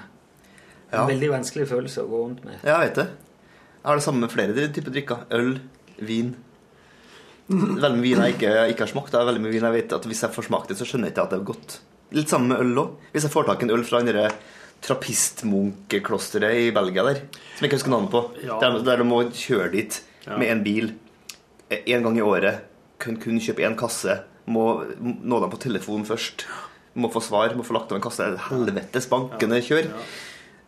Speaker 2: En
Speaker 10: Ja.
Speaker 2: veldig vanskelig følelse å gå rundt med.
Speaker 10: Ja, jeg vet det. Jeg har det samme med flere typer drikker. Øl, vin. Veldig mye vin jeg ikke, ikke har smakt. Det er veldig mye vin jeg vet at Hvis jeg får smakt det, så skjønner jeg ikke at det er godt. Litt sammen med øl òg. Hvis jeg får tak i en øl fra den derre trapistmunkeklosteret i Belgia der, som jeg ikke husker navnet på.
Speaker 7: Ja.
Speaker 10: Der, der du må kjøre dit
Speaker 7: Ja.
Speaker 10: med en bil eh, en gang i året. Kun, kun kjøpe én kasse. Må nå dem på telefon først. Må få svar, må få lagt av en kasse. Helvetes bankende kjør.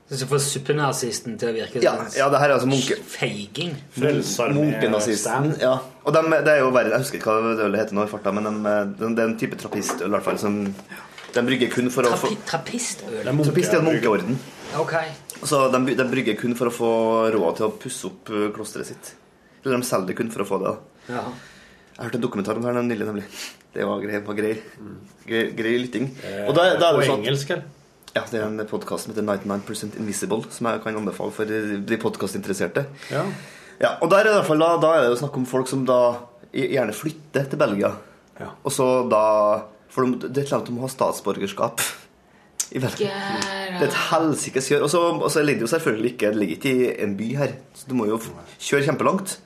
Speaker 2: Så får suppenazisten til å virke
Speaker 10: Ja,
Speaker 2: som en
Speaker 10: ja, det her er altså munke...
Speaker 2: feiging.
Speaker 10: Munkenazisten. Ja. Og dem, det er jo verre Jeg husker ikke hva det ølet heter nå i farta, men dem, eh, dem- det er en type trappistøl i hvert fall som de brygger kun for å få
Speaker 2: Trapi- Trappistøl.
Speaker 10: Trappist er en munkeorden.
Speaker 2: Ok.
Speaker 10: Så de, by- de brygger kun for å få råd til å pusse opp eh, klosteret sitt. Eller de selger kun for å få det. da.
Speaker 2: Ja.
Speaker 10: Jeg hørte en dokumentar om det her nylig, nemlig. Det var grei, var grei, grei, grei lytting. Og da, da er det
Speaker 7: Eh, på
Speaker 10: sånn
Speaker 7: engelsk, eller?
Speaker 10: Ja, det er en podkast som heter 99% Invisible, som jeg kan anbefale for de podkastinteresserte.
Speaker 7: Ja.
Speaker 10: Ja, og der er det i hvert fall da, da er det jo snakk om folk som da gjerne flytter til Belgia. Og så da For de, det er et eller annet om å ha statsborgerskap i Belgia. Det er et helsikes kjør. Og så og så ligger det jo selvfølgelig ikke Det ligger ikke i en by her, så du må jo f- kjøre kjempelangt.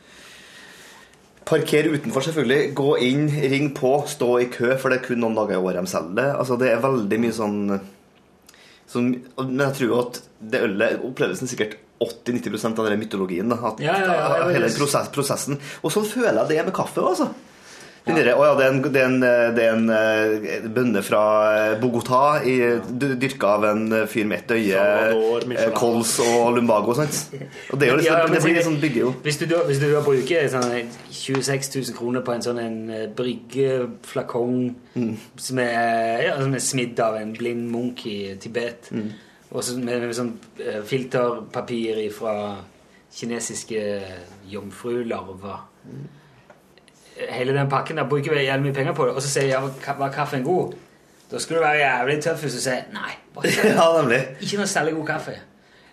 Speaker 10: Parker utenfor, selvfølgelig. Gå inn, ring på, stå i kø, for det er kun noen dager i året de selger det. Altså, det er veldig mye sånn som, men jeg tror jo at det ølet oppleves den sikkert 80-90 av den mytologien. Da, at,
Speaker 7: Ja, ja, ja, ja,
Speaker 10: av hele den
Speaker 7: visst.
Speaker 10: prosess, prosessen. Og sånn føler jeg det er med kaffe. også, altså. Den derre, å ja, det er en, det er en, eh, det er en eh, bønne fra eh, Bogotá, i, d- dyrka av en eh, fyr med ett øye,
Speaker 7: Salvador,
Speaker 10: eh,
Speaker 7: Michelin.
Speaker 10: Kols og Lumbago. Sant? Og det, er jo liksom,
Speaker 2: Ja, ja, men
Speaker 10: det blir
Speaker 2: det-
Speaker 10: litt sånn bygger jo.
Speaker 2: Hvis du, da- hvis du da bruker sånn 26 000 kroner på en sånn en eh, bryggeflakong
Speaker 10: Mm.
Speaker 2: som, er- ja, som er smidd av en blind munk i Tibet,
Speaker 10: Mm.
Speaker 2: og så med, med sånn eh, filterpapir fra kinesiske jomfrularver
Speaker 10: Mm.
Speaker 2: Hele den pakken der bruker vi jævlig mye penger på det, og så sier jeg ja, var ka- var kaffen god? Da skulle du være jævlig tøff hvis du sier nei. bare ikke-
Speaker 10: Ja, nemlig.
Speaker 2: Ikke noe særlig god kaffe.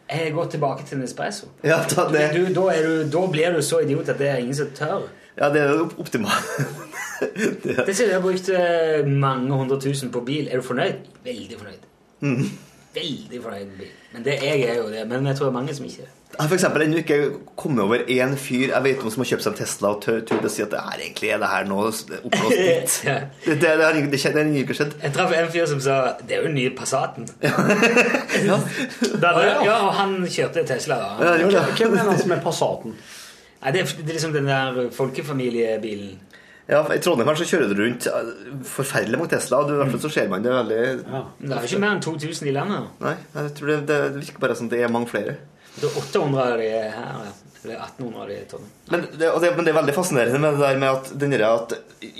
Speaker 2: Jeg går tilbake til en espresso.
Speaker 10: Ja, da, det,
Speaker 2: Eh, Du, da, er du, da blir du så idiot at det er ingen som tør.
Speaker 10: ja, det er jo optimalt.
Speaker 2: Det sier du har brukt eh, mange hundre tusen på bil. Er du fornøyd? Veldig fornøyd.
Speaker 10: Mm.
Speaker 2: Veldig fornøyd med bil. Men det jeg er jo det. Men jeg tror det er mange som ikke er det.
Speaker 10: Jeg har for eksempel ennå ikke kommet over én fyr jeg vet om som har kjøpt seg en Tesla og tør, tør å si at det er egentlig er det her nå oppblåst litt.
Speaker 2: Ja.
Speaker 10: Det, det, det har ingen- det skjedd- det har ingen ikke skjedd.
Speaker 2: Jeg traff en fyr som sa Det er jo den nye Passaten. ja. ja, og han kjørte Tesla. da.
Speaker 7: Ja, han gjorde det. Hvem er han som er Passaten?
Speaker 2: Nei, det, er, det er liksom den der folkefamiliebilen.
Speaker 10: Ja, I Trondheim her så kjører du rundt eh, forferdelig mange Tesla. og Du, I hvert fall så ser man det veldig
Speaker 2: Men Det er jo ikke mer enn 2000 i landet.
Speaker 10: Nei, jeg tror det, det virker bare som det er mange flere.
Speaker 2: Det er 800 av de her. ja. Eller 1800 av de i Trondheim.
Speaker 10: Men det, og det, men det er veldig fascinerende med det der med at, den der at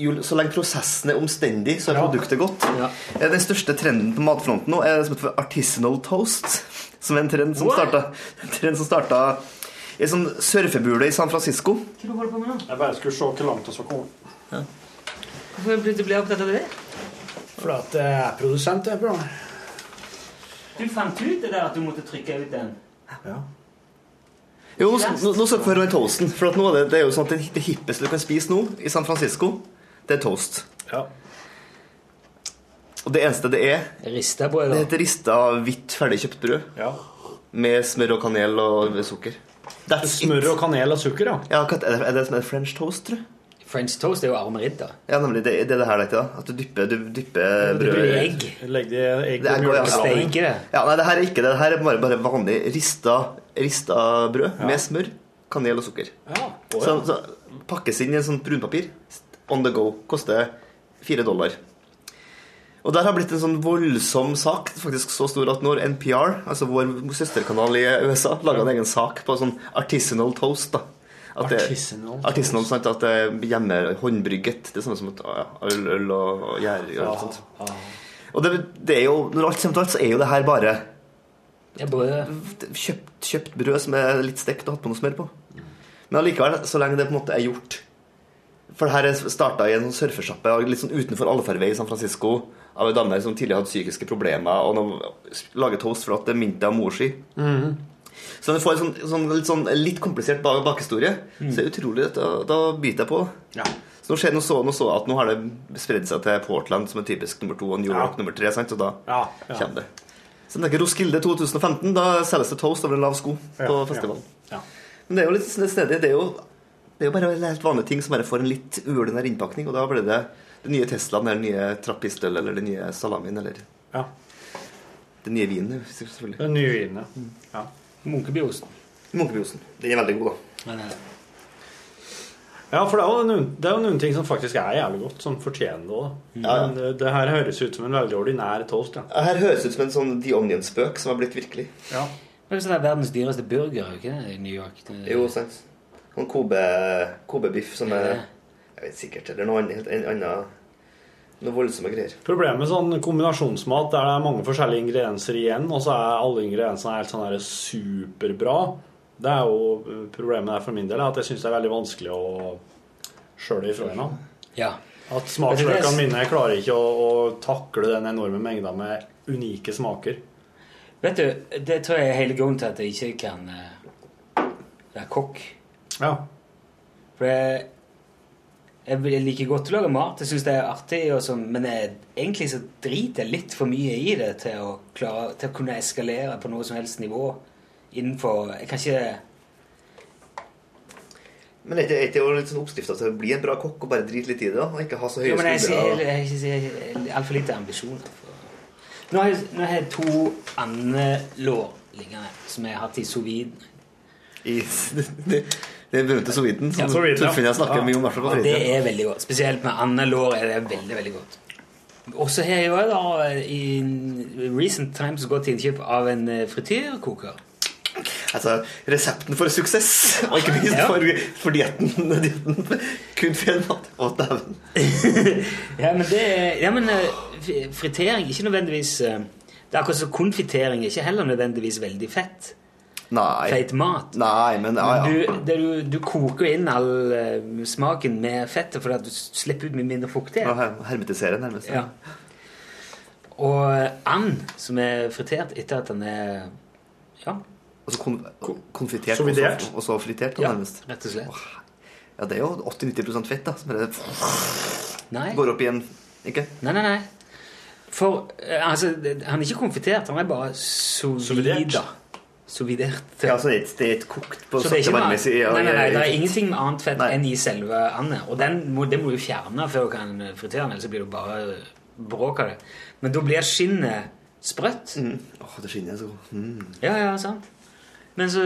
Speaker 10: jo, så lenge prosessen er omstendig, så er produktet godt. Eh, Den største trenden på matfronten nå er det som heter artisanal toast, som er en trend som
Speaker 2: What?
Speaker 10: starta, en trend som starta i en sånn surfebule i San Francisco.
Speaker 2: Hva holder du på med nå?
Speaker 7: Jeg bare skulle se hvor langt vi skal komme.
Speaker 2: Hvorfor ble du ble opptatt av det?
Speaker 7: Fordi at jeg er produsent, jeg, Bjørn.
Speaker 2: Du fant ut det der at du måtte trykke ut den?
Speaker 10: Jo, nå, nå nå skal vi høre den toasten. For at nå er det, det er jo sånn at det, det hippeste du kan spise nå i San Francisco, det er toast.
Speaker 7: Ja.
Speaker 10: Og det eneste det er
Speaker 2: Rista brød,
Speaker 10: Det heter rista hvitt ferdigkjøpt brød. Med smør og kanel og sukker.
Speaker 7: Smør og kanel og sukker, ja.
Speaker 10: Ja, hva er det, er det som er french toast, tror du?
Speaker 2: French toast er jo armeridd, da.
Speaker 10: Ja, nemlig. Det, det er det her det heter, da. At du dypper, du dypper
Speaker 7: du
Speaker 10: brødet
Speaker 7: dypper egg. Legg det egg
Speaker 10: det er,
Speaker 7: og
Speaker 10: ja,
Speaker 7: mjølk. Steker
Speaker 10: det. Ja, nei, det her er ikke det. Det her er bare, bare vanlig rista, rista brød med smør, kanel og sukker.
Speaker 7: å,
Speaker 10: Så, så pakkes inn i en sånn brunpapir. On the go. Koster fire dollar. Og der har blitt en sånn voldsom sak, faktisk så stor at når NPR, altså vår søsterkanal i E USA, laga en egen sak på sånn artisanal toast, da. At det,
Speaker 7: Artisanal toast.
Speaker 10: artisanal sant, at det er hjemme håndbrygget. Det er sånn som at, ja, øl, øl og og gjær og alt sånt. Og det, det er jo, når alt kommer til alt, så er jo det her bare
Speaker 2: Det er brød.
Speaker 10: kjøpt, kjøpt brød som er litt stekt og hatt på noe smør på. Men allikevel, så lenge det på en måte er gjort For det her er starta i en sånn surfesjappe og litt sånn utenfor allfarvei i San Francisco av en dame som tidligere hadde psykiske problemer, og nå lager toast for at det minte av mor si.
Speaker 7: Mhm.
Speaker 10: Så når du får en sånn, sånn, litt, sånn, litt komplisert bak bakhistorie,
Speaker 7: Mm.
Speaker 10: så er det utrolig at da, da biter jeg på.
Speaker 7: Ja.
Speaker 10: Så nå, skjer, nå, så, nå så jeg at nå har det spredd seg til Portland, som er typisk nummer to, og New York nummer tre. Sant? Og da
Speaker 7: Ja, ja.
Speaker 10: kommer det. Så jeg tenker Roskilde 2015, da selges det toast over en lav sko
Speaker 7: Ja,
Speaker 10: på
Speaker 7: ja.
Speaker 10: festivalen.
Speaker 7: Ja.
Speaker 10: Men det er jo litt sånn et sted, det er jo, det er jo bare helt vanlige ting som bare får en litt uordinær innpakning, og da ble det den nye Teslaen eller den nye trappistøl eller den nye salamien eller
Speaker 7: Ja.
Speaker 10: Den nye vinen, selvfølgelig.
Speaker 7: Den nye vinen, ja.
Speaker 10: Munkebyosten. Munkebyosten. Den er veldig god, da.
Speaker 7: Ja, for det er, jo noen, det er jo noen ting som faktisk er jævlig godt, som fortjener det òg.
Speaker 10: Ja, ja.
Speaker 7: Men eh, det, det her høres ut som en veldig ordinær toast. Ja.
Speaker 10: Ja, Her høres ut som en sånn The Onion-spøk som har blitt virkelig.
Speaker 7: Ja.
Speaker 2: Det er jo sånn der verdens dyreste burger ikke det, i New York. Det-
Speaker 10: Jo, sant. Noen Kobe- Kobe-biff som er Jeg vet sikkert, eller noe annet. En, annen, noe voldsomme greier.
Speaker 7: Problemet med sånn kombinasjonsmat der det er mange forskjellige ingredienser igjen, og så er alle ingrediensene helt sånn der superbra, det er jo eh, problemet der for min del, er at jeg syns det er veldig vanskelig å skjøle ifra henne.
Speaker 2: Ja.
Speaker 7: At smaksløkene mine klarer ikke å, å takle den enorme mengda med unike smaker.
Speaker 2: Vet du, det tror jeg er hele grunnen til at jeg ikke kan eh, være kokk.
Speaker 7: Ja.
Speaker 2: For jeg, jeg vil- jeg liker godt å lage mat, jeg syns det er artig, og sånn, men jeg, egentlig så driter jeg litt for mye i det til å, klare, til å kunne eskalere på noe som helst nivå innenfor Jeg kan ikke
Speaker 10: Men er ikke er ikke det jo litt sånn oppskrifta til å bli en bra kokk og bare drite litt i det? da, Og ikke ha så høye
Speaker 2: Jo, men jeg,
Speaker 10: skuldre?
Speaker 2: jeg, jeg, jeg, jeg altfor lite ambisjoner. For... Nå, har jeg, nå har jeg to andelår liggende som jeg har hatt i sous vide.
Speaker 10: det, det berømte sovjeten som Torfinn jeg snakker mye om, i hvert fall på
Speaker 2: Og Det
Speaker 10: fritiden.
Speaker 2: er veldig godt. Spesielt med andelår er det veldig, veldig godt. Og så har jeg jo da i recent times gått til innkjøp av en eh, frityrkoker.
Speaker 10: Altså, resepten for suksess, og ikke minst
Speaker 2: Ja.
Speaker 10: for, for dietten. dietten. Kun fel mat. Å, dæven.
Speaker 2: Ja, men, det, er- ja, men eh, fri- fritering er ikke nødvendigvis eh, Det er akkurat som konfitering er ikke heller nødvendigvis veldig fett.
Speaker 10: Nei.
Speaker 2: Feit mat.
Speaker 10: Nei, men ja, ja.
Speaker 2: Du, det du, du koker jo inn all eh, smaken med fettet fordi at du s- slipper ut mye mindre
Speaker 10: Ja,
Speaker 2: fuktighet.
Speaker 10: her- Hermetisere, nærmest.
Speaker 2: Ja. Og eh, and, som er fritert etter at den er Ja.
Speaker 10: Altså kon konfitert og så,
Speaker 2: Sous-vidert.
Speaker 10: og så fritert, da,
Speaker 2: Ja,
Speaker 10: nærmest.
Speaker 2: rett og slett.
Speaker 10: Ja, det er jo 80-90 fett, da. Som bare
Speaker 2: Nei.
Speaker 10: går opp igjen. Ikke?
Speaker 2: Nei, nei, nei. For eh, altså, det- han er ikke konfitert, han er bare sovida. Sovidert.
Speaker 10: Ja, altså, det er ikke- det er ikke kokt på
Speaker 2: Så det er
Speaker 10: sakte
Speaker 2: ikke
Speaker 10: varme
Speaker 2: noe,
Speaker 10: i- ja,
Speaker 2: nei, nei, nei, det
Speaker 10: i-
Speaker 2: er ingenting med annet fett enn i selve anden. Og den må, det må du fjerne før du kan fritere den, ellers blir du bare bråk av det. Men da blir skinnet sprøtt.
Speaker 10: Åh, det skinner så godt. Mm.
Speaker 2: Ja, ja, sant. Men så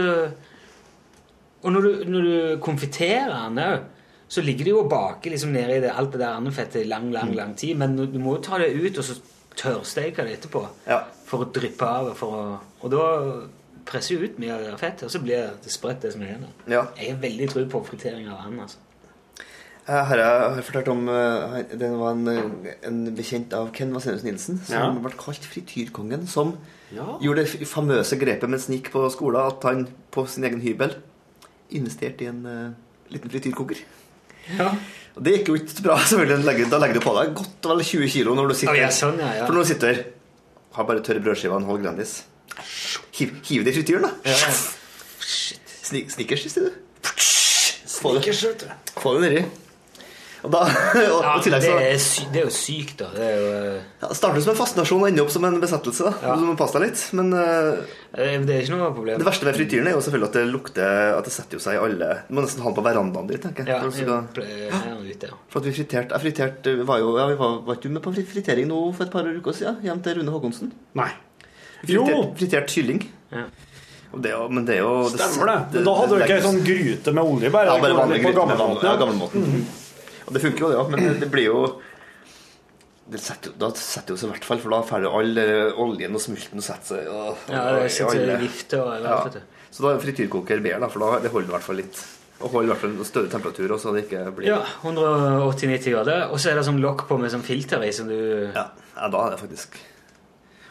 Speaker 2: Og når du, når du konfiterer den òg, så ligger det jo og baker liksom nede i det, alt det der andefettet i lang, lang lang tid. Men du må jo ta det ut, og så tørrsteke det etterpå for å dryppe av. For å, og da presser jo ut mye av det fettet, og så blir det sprøtt, det som er igjen. da.
Speaker 10: Ja.
Speaker 2: Jeg har veldig tro på fritering av and. altså.
Speaker 10: Jeg har, jeg har fortalt om eh, Det var en, eh, en bekjent av Ken Vasenius Nilsen som
Speaker 7: Ja.
Speaker 10: ble kalt frityrkongen. Som
Speaker 7: Ja.
Speaker 10: gjorde det f- famøse grepet mens han gikk på skolen, at han på sin egen hybel investerte i en eh, liten frityrkoker. Og det gikk jo ikke så bra. selvfølgelig Da legger- Da legger du på deg godt og vel 20 kilo når du sitter
Speaker 2: Å, ja, sånn, ja, ja.
Speaker 10: For når du sitter har bare tørre brødskiver og en halv Grandis. Hiv, hiv det i frityren, da. Sni- Snickers, sier du. Få det- Få det nedi. Og da, og,
Speaker 2: Ja,
Speaker 10: og i tillegg så
Speaker 2: det, er sy det er jo sykt, da. Det er jo, eh,
Speaker 10: ja, det starter som en fascinasjon og ender opp som en besettelse. da. Du må passe deg litt, men eh,
Speaker 2: det er ikke noe problem.
Speaker 10: det verste med frityren er jo selvfølgelig at det lukter At det setter jo seg i alle Du må nesten ha den på verandaen din, tenker jeg.
Speaker 2: Ja,
Speaker 10: Når du skal-
Speaker 2: jeg pleier å ute, ja.
Speaker 10: For at vi friterte Jeg friterte eh, var jo ja, vi var, var ikke du med på fri- fritering nå for et par uker siden? Hjem til Rune Håkonsen?
Speaker 7: Nei.
Speaker 10: Fritert, fritert kylling. Og det, er jo- men det er jo
Speaker 7: Stemmer det. Men da hadde du ikke ei sånn gryte med olje, bare.
Speaker 10: Ja, bare
Speaker 7: På
Speaker 10: vanlig gryte med vanlig-
Speaker 7: gammelmåten,
Speaker 10: ja, gammelmåten. Og det funker jo, det òg, men det- det blir jo det setter, jo- Da setter jo seg i hvert fall, for da får jo all eh, oljen og smulten sette seg. Og,
Speaker 2: Ja, det sitter vifter og-
Speaker 10: ja. Så da er frityrkoker bedre, da, for da det holder i hvert fall litt. Og holder i hvert fall en større temperatur, og så det ikke blir
Speaker 2: Ja, 180-90 grader. Og så er det sånn lokk på med sånn filter i som du
Speaker 10: Ja, da er det faktisk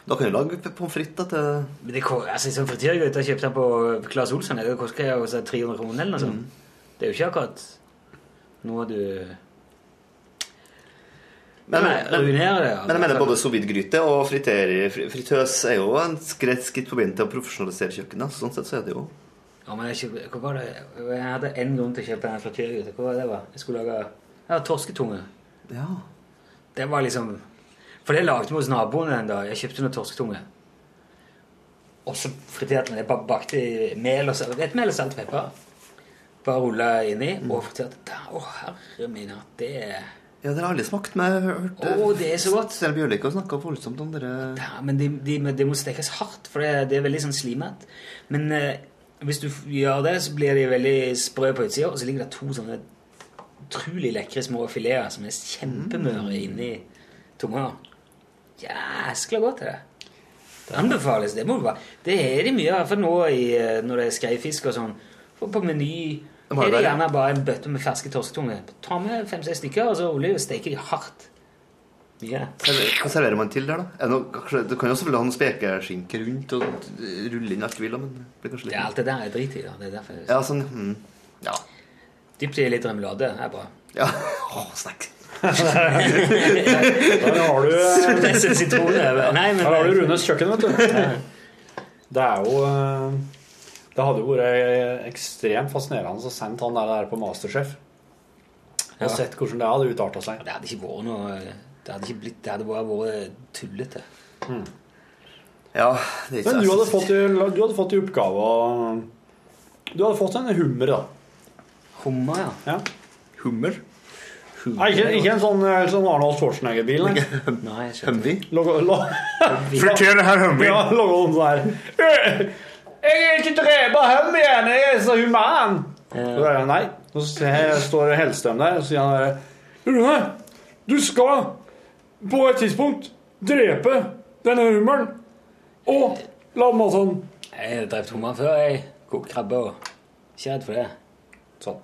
Speaker 10: Da kan du lage p- pommes frites da, til
Speaker 2: Men det, ko- altså, sånn frityrgryte jeg kjøpte den på Claes Olsson, det koster jo sånn 300 kroner eller noe sånt.
Speaker 10: Mm.
Speaker 2: Det er jo ikke akkurat noe du
Speaker 10: Men,
Speaker 2: Nei,
Speaker 10: men,
Speaker 2: ruinerer det. altså.
Speaker 10: men jeg mener både sovidgryte og friter, fri- fritøs er jo en skritt skritt på veien til å profesjonalisere kjøkkenet. så Sånn sett så er det jo
Speaker 2: Ja, men jeg, kjøpte- hva var det? jeg hadde én grunn til å kjøpe den frityrgryta. Hva var det? Var? Jeg skulle lage ja, torsketunge.
Speaker 10: Ja.
Speaker 2: Det var liksom For det lagde vi hos naboen en dag. Jeg kjøpte noe torsketunge. Og så friterte vi det. Bare bakte i mel og salt, et mel og salt og
Speaker 10: Mm.
Speaker 2: pepper. Bare rulla inni og friterte. Da, Å, herre min hatt, det er
Speaker 10: Ja, det har alle smakt, men jeg har hørt
Speaker 2: Å, det er så godt.
Speaker 10: Steinar Bjørlik har snakka voldsomt om dere
Speaker 2: Ja, men det de, men det må stekes hardt, for det, det er veldig sånn slimete. Men eh, hvis du f- gjør det, så blir de veldig sprø på utsida, og så ligger det to sånne utrolig lekre små fileter som er
Speaker 10: Mm.
Speaker 2: kjempemøre inni tunga. Jæskla godt er det. Det anbefales. Det må du bare Det er de mye, i hvert fall nå i, eh, når det er skreifisk og sånn. For på Meny
Speaker 10: må
Speaker 2: er det
Speaker 10: være-
Speaker 2: gjerne bare en bøtte med ferske torsketunger. Ta med fem-seks stykker, og så olje og steker de hardt. Mye.
Speaker 10: Server- Hva serverer man til der, da? Er det noe, kanskje, du kan jo selvfølgelig ha noen spekeskinke rundt og rulle inn alt du vil, da, men det blir kanskje litt
Speaker 2: Ja, alt det der er drit i. da. Det er derfor jeg
Speaker 10: Ja, sånn mm. Ja.
Speaker 2: Dypt i litt remulade er bra.
Speaker 10: Ja. Åh, snakk.
Speaker 7: Der har du eh,
Speaker 2: Presse sitron, ja. Nei, men-
Speaker 7: Her har du Runes kjøkken, vet du. Det er jo eh, Det hadde jo vært ekstremt fascinerende å sende han der, der på Masterchef og
Speaker 2: Ja.
Speaker 7: sett hvordan det hadde utarta seg.
Speaker 2: Det hadde ikke vært noe Det hadde, ikke blitt, det hadde bare vært tullete.
Speaker 10: Ja,
Speaker 7: Men du hadde fått, i- du hadde fått i oppgave å Du hadde fått en hummer, da.
Speaker 2: Hummer, ja.
Speaker 10: Hummer?
Speaker 7: Nei, ikke, ikke en sånn, eh, sånn Arnold Schwarzenegger-bil. nei.
Speaker 2: Nei, jeg skjønner.
Speaker 10: Humvee?
Speaker 7: Logo- lo-
Speaker 10: Fortell det her, Humvee.
Speaker 7: Ja, logo om sånn her. Jeg er ikke drepa hum igjen, jeg er så human. Så er det nei. Så ser- står det Hellstrøm der, og så sier han bare Rune, du skal på et tidspunkt drepe denne hummeren. Og la meg sånn.
Speaker 2: Jeg har drept hummer før, jeg. Kokt krabbe og Ikke redd for det.
Speaker 7: Sånn.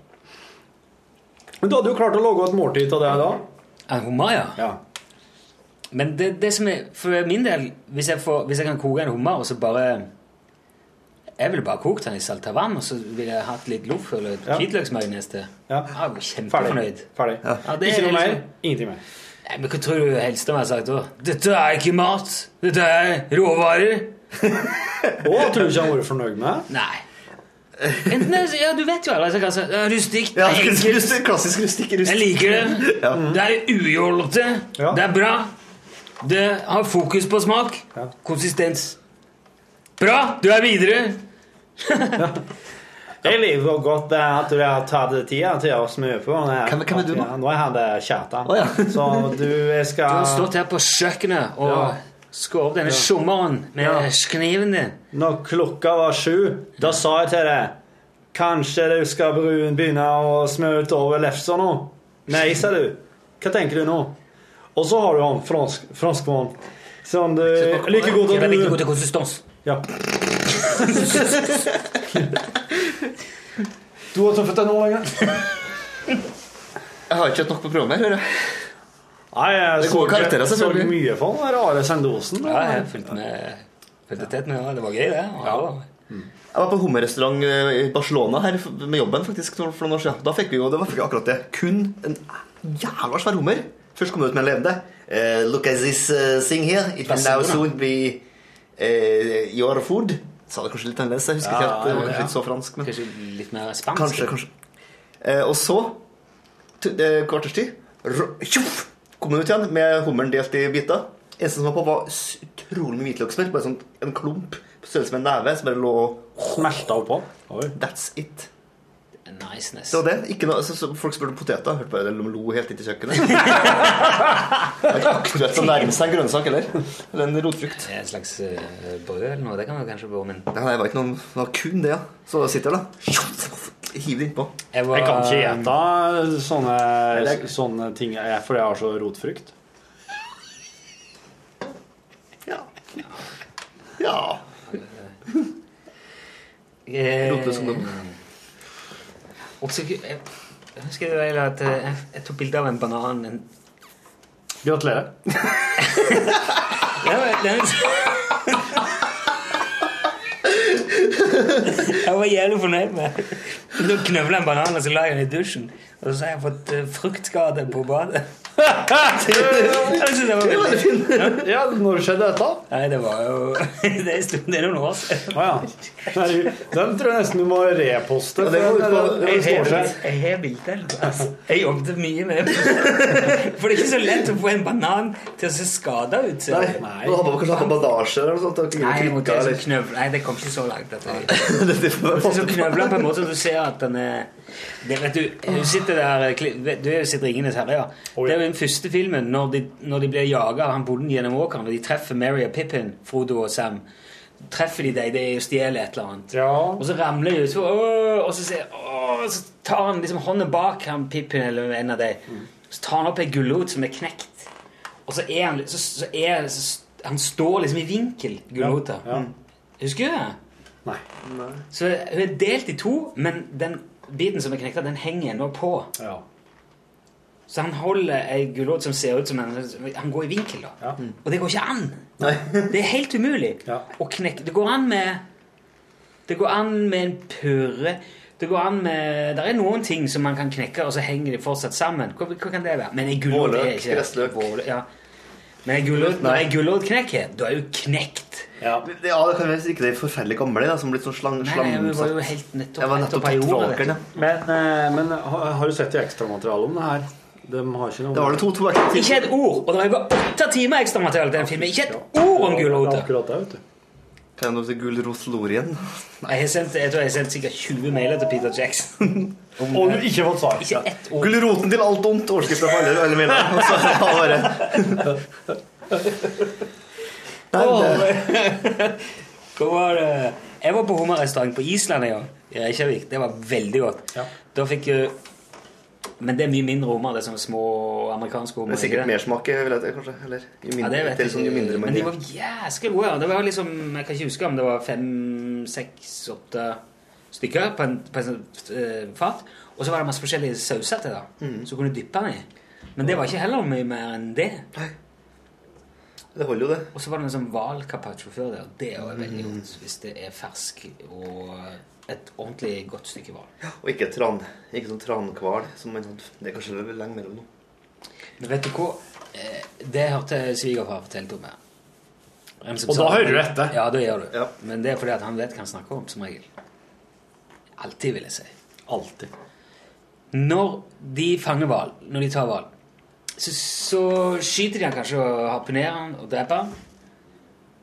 Speaker 7: Men du hadde jo klart å lage et måltid av det da.
Speaker 2: En Ah, hummer, ja. Men det, det som er For min del, hvis jeg, får, hvis jeg kan koke en hummer, og så bare Jeg ville bare kokt den i saltavann, og så ville jeg hatt litt loff eller
Speaker 7: Ja.
Speaker 2: hvitløksmajones til.
Speaker 7: Ja.
Speaker 2: Jeg var kjempefornøyd.
Speaker 7: Ferdig.
Speaker 2: Ja, det
Speaker 7: ikke
Speaker 2: er
Speaker 7: noe mer.
Speaker 2: liksom-
Speaker 7: Ingenting mer.
Speaker 2: Nei, men Hva tror du Helstad har sagt da? Dette er ikke mat! Dette er råvarer!
Speaker 7: Å, tror du ikke han var fornøyd med det?
Speaker 2: Nei. Enten er, ja, du vet jo allerede hva som er rustikt.
Speaker 7: Ja,
Speaker 2: enkelt.
Speaker 7: rustikk, klassisk rustikk, rustikk.
Speaker 2: Jeg liker det. Det er ujålete. Det er bra. Det har fokus på smak. Konsistens. Bra! Du er videre.
Speaker 7: Jeg liker jo godt eh, at du har tatt deg tida til å smøre på. Hvem, er du nå? Nå er han der kjæta. Så du jeg
Speaker 2: Du
Speaker 7: skal
Speaker 2: har stått her på kjøkkenet og
Speaker 7: Ja.
Speaker 2: skåret denne
Speaker 7: Ja.
Speaker 2: sjommeren med
Speaker 7: Ja.
Speaker 2: kniven din.
Speaker 7: Når klokka var sju, da sa jeg til deg Kanskje du skal bru- begynne å smøre utover lefsa nå? Nei, sa du. Hva tenker du nå? Og så har du han fransk, franskmannen som du Like god
Speaker 2: Det
Speaker 7: at
Speaker 2: er like god
Speaker 7: du
Speaker 2: til konsistens.
Speaker 7: Ja. Du har truffet deg nå lenger?
Speaker 10: Jeg har ikke hatt nok på prøven her, hører jeg.
Speaker 7: Nei, jeg
Speaker 10: Det er gode
Speaker 7: så ikke-
Speaker 10: karakterer,
Speaker 7: så
Speaker 10: selvfølgelig.
Speaker 7: mye for den rare sendosen.
Speaker 2: Ja, jeg fulgte med. Fulgte tett med. ja. Det var gøy, det. Ja.
Speaker 10: Jeg var på hummerrestaurant eh, i Barcelona her f- med jobben faktisk for for noen år siden. Da fikk vi jo det var ikke akkurat det. Kun en jævla svær hummer. Først kom det ut med en levende. Eh, look at this eh, thing here. It will now soon be eh, your food. Sa det kanskje litt annerledes. Jeg husker ikke helt. Det var kanskje ikke så fransk. Men...
Speaker 2: Kanskje litt mer spansk?
Speaker 10: Kanskje, kanskje. Eh, og så, t- eh, kvarters tid, rå- tjoff, kom hun ut igjen med hummeren delt i biter. Eneste som var på, var s- utrolig mye hvitløkssmør. Bare sånn en klump på størrelse med en neve som bare lå og
Speaker 7: Smelta oppå.
Speaker 10: That's it.
Speaker 2: Niceness.
Speaker 10: Det var det. Ikke noe, så, så folk spurte om poteter. Hørte bare de lo helt inn til kjøkkenet. Det er ikke aktuelt å nærme seg en grønnsak heller. Eller en rotfrukt.
Speaker 2: En slags eh, brød eller noe? Det kan man kanskje være, men
Speaker 10: Nei, det var ikke noen, det var kun det, ja. Så sitter jeg da. Tjoff, Hiver innpå.
Speaker 2: Jeg,
Speaker 7: Jeg kan ikke gjeta sånne, sånne ting jeg- fordi jeg har så rotfrukt.
Speaker 10: Ja. Rotløs ungdom.
Speaker 2: Eh, Og så- jeg, jeg husker det vel at eh, jeg, jeg tok bilde av en banan en,
Speaker 7: Gratulerer.
Speaker 2: ja, men den, Jeg var jævlig fornøyd med Men Da knøvla jeg en banan og så la jeg den i dusjen. Og så har jeg fått eh, fruktskade på badet. Jeg synes det var veldig
Speaker 7: Ja, når skjedde dette?
Speaker 2: Nei, det var jo Det er, stund, det er noen år siden.
Speaker 7: Å ja. Herregud, Den tror jeg nesten du må reposte.
Speaker 2: Jeg
Speaker 7: for den- den- den står
Speaker 2: har-
Speaker 7: seg.
Speaker 2: jeg har bilder. Altså, jeg jobbet mye med det. For det er ikke så lett å få en banan til å se skada ut. ser
Speaker 10: Nei,
Speaker 2: jeg.
Speaker 10: Du hadde kanskje hatt på bandasje eller noe sånt? og
Speaker 2: Nei, jeg
Speaker 10: klikket
Speaker 2: måtte liksom
Speaker 10: litt.
Speaker 2: knøvle. Nei, det kom ikke så langt. Dette. Jeg så knøvla på en måte så du ser at den er det, vet du, du sitter der eh, kli- vet Du sitter i Ringenes herre, ja. Det jo den første filmen, når de, når de blir jaga av han bonden gjennom åkeren, og de treffer Mary og Pippin, Frodo og Sam. Treffer de deg, det er jo stjeler et eller annet. Og så ramler de utfor, «Åh!» og så, sier, «Åh!» så tar han liksom hånda bak han Pippin eller en av deg. Så tar han opp ei gulrot som er knekt, og så er han så, så er, så, Han står liksom i vinkel, gulrota. Husker du det?
Speaker 7: Nei.
Speaker 2: Så hun er delt i to, men den biten som er knekta, den henger ennå på. Så han holder ei gulrot som ser ut som en Han går i vinkel, da. Og det går ikke an! Det er helt umulig å knekke Det går an med Det går an med en purre. Det går an med Det er noen ting som man kan knekke, og så henger de fortsatt sammen. Hva, hva kan det være? Men ei gulrot er
Speaker 10: Vårløk,
Speaker 2: ikke
Speaker 10: gressløk.
Speaker 2: Vårløk, ja. Men ei gulrot- når ei gulrot knekker, da er hun knekt.
Speaker 10: Ja, det, ja, det kan være ikke det forferdelig gamle, da, som blir sånn slang,
Speaker 2: Nei,
Speaker 10: slamsatt.
Speaker 2: nei, vi var jo helt nettopp-
Speaker 10: Jeg var
Speaker 2: nettopp
Speaker 10: nettopp
Speaker 2: her i
Speaker 10: tatt fra
Speaker 2: jorda,
Speaker 10: åkeren, ja.
Speaker 7: Men, eh, men har, har du sett i ekstramaterialet om det her? De har ikke noe
Speaker 10: Det var det to- to ekstra
Speaker 2: Ikke et ord! Og det er bare åtte timer ekstramateriale til den filmen. Ikke et ord om gulrota!
Speaker 10: Kan du til gulrotlorien?
Speaker 2: Jeg, har sendt- jeg tror jeg har sendt sikkert 20 mailer til Peter Jackson.
Speaker 10: Og du har ikke fått svar.
Speaker 2: Ikke ett ord.
Speaker 10: Gulroten til alt ondt, overskriften på alle, alle mine. Og så er Altså, det bare
Speaker 2: Hva var det? Jeg var på hummerrestaurant på Island en gang. I Reykjavik. Det var veldig godt. Da fikk jeg Men det er mye mindre hummer. Det er sånne små amerikanske hummer.
Speaker 10: Det er
Speaker 2: ikke
Speaker 10: sikkert mersmak, vil jeg til, kanskje. Eller jo mindre,
Speaker 2: ja, det vet
Speaker 10: til, sånn, jo mindre man
Speaker 2: Men de
Speaker 10: gir.
Speaker 2: var jæskla gode. ja. Det var liksom, jeg kan ikke huske om det var fem, seks, åtte stykker på en, på en sånn, eh, fat. Og så var det masse forskjellige sauser til, da.
Speaker 10: Mhm.
Speaker 2: Så kunne du dyppe den i. Men det var ikke heller mye mer enn det.
Speaker 10: Det holder jo, det.
Speaker 2: Og så var det en sånn hvalcarpaccio før det, og det er jo
Speaker 10: Mm.
Speaker 2: veldig godt hvis det er fersk og et ordentlig godt stykke hval.
Speaker 10: Og ikke, tran, ikke sånn trankval som man hadde. Det er kanskje det er lenge mellom nå.
Speaker 2: Men vet du hva? Eh, Det hørte svigerfar fortelle om her. En som
Speaker 10: Og
Speaker 2: sa-
Speaker 10: da hører du etter.
Speaker 2: Ja, det gjør du. Men det er fordi at han vet hva han snakker om, som regel. Alltid, vil jeg si. Alltid. Når de fanger hval, når de tar hval, så, så skyter de han kanskje og harpunerer han og dreper han.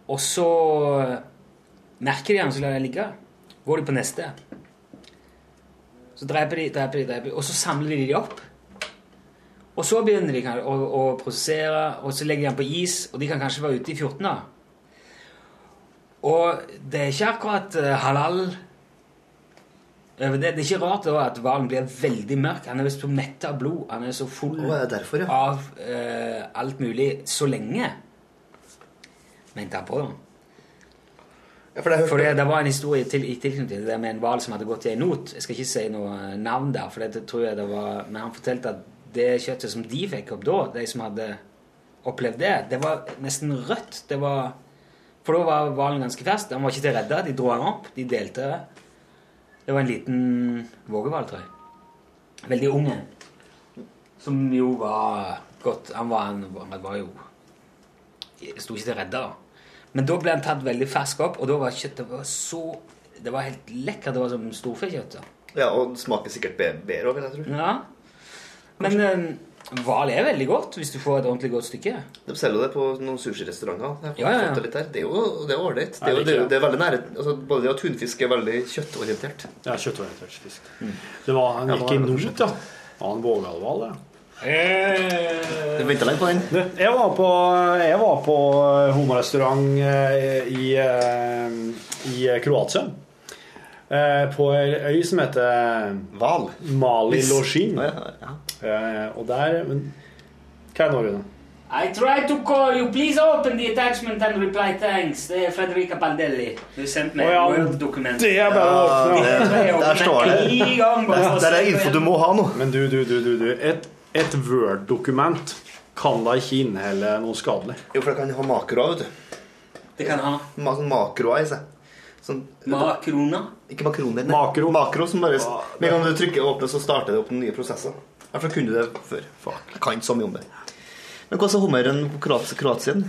Speaker 2: Og så eh, merker de han, så lar de han ligge. Går de på neste. Så dreper de, dreper de, dreper de. Og så samler de de opp. Og så begynner de kan- å, å prosessere, og så legger de den på is, og de kan kanskje være ute i 14 da. Og det er ikke akkurat eh, halal Eh, det, det er ikke rart da at hvalen blir veldig mørk. Han er visst så mett av blod. Han er så full
Speaker 10: Å, det er derfor, ja.
Speaker 2: av eh, alt mulig så lenge. Men ta på, da.
Speaker 10: for det,
Speaker 2: det, var en historie til, i tilknytning til det med en hval som hadde gått i en not. Jeg skal ikke si noe navn der, for det tror jeg det var Men han fortalte at det kjøttet som de fikk opp da, de som hadde opplevd det, det var nesten rødt. Det var For da var hvalen ganske fersk. Han var ikke til å redde. De dro han opp. De delte det. Det var en liten vågehval, tror jeg. Veldig ung. en. Som jo var godt Han var, han, han var jo Sto ikke til å redde, da. Men da ble han tatt veldig fersk opp, og da var kjøttet var så Det var helt lekkert. Det var som storfekjøtt. da.
Speaker 10: Ja, og det smaker sikkert be- bedre òg, vil jeg tro.
Speaker 2: Ja. Men eh, hval er veldig godt hvis du får et ordentlig godt stykke.
Speaker 10: De selger jo det på noen sushirestauranter.
Speaker 2: Ja, ja, ja.
Speaker 10: Det, litt der. det er jo det er ålreit. Det,
Speaker 2: Jeg
Speaker 10: er jo-
Speaker 2: liker
Speaker 10: det, er jo-
Speaker 2: det.
Speaker 10: det er veldig nære altså, Både det og tunfisk er veldig kjøttorientert. Mm.
Speaker 7: Ja, kjøttorientert fisk. Det var han
Speaker 10: Ja,
Speaker 7: gikk
Speaker 10: det
Speaker 7: i
Speaker 10: var
Speaker 7: not, ja. Ja, han vågalhval, det.
Speaker 10: Du venta lenge på den?
Speaker 7: Eh, Jeg var på, jeg var på homorestaurant eh, i, eh, i Kroatia. Eh, På ei øy som heter
Speaker 10: Val.
Speaker 7: Mali
Speaker 10: Vis.
Speaker 7: Losjin.
Speaker 10: Ja,
Speaker 7: Eh, Og der men, Hva er nå, Rune?
Speaker 2: I tried to call you. Please open the attachment and reply thanks. Det er Frederica Baldelli. Du sendte meg
Speaker 7: Å ja,
Speaker 2: et Word-dokument.
Speaker 7: det er bare å åpne.
Speaker 2: Ja, det er å åpne
Speaker 10: Der står det.
Speaker 2: en gang, bare for å
Speaker 10: Der er
Speaker 2: se på
Speaker 10: info
Speaker 2: en-
Speaker 10: du må ha nå.
Speaker 7: Men du, du, du, du, du. Et, et Word-dokument kan da ikke inneholde noe skadelig?
Speaker 10: Jo, for det kan ha makroer, vet du.
Speaker 2: Det kan ha
Speaker 10: Ma sånn makroer i seg. Sånn,
Speaker 2: Makroner?
Speaker 10: Ikke makroner. nei. Makro. som bare Med en gang du trykker og åpner, så starter det opp noen nye prosesser. Derfor kunne du det før. Fuck. Jeg kan ikke så mye om det. Men hva sa hummeren på Kroat Kroatien?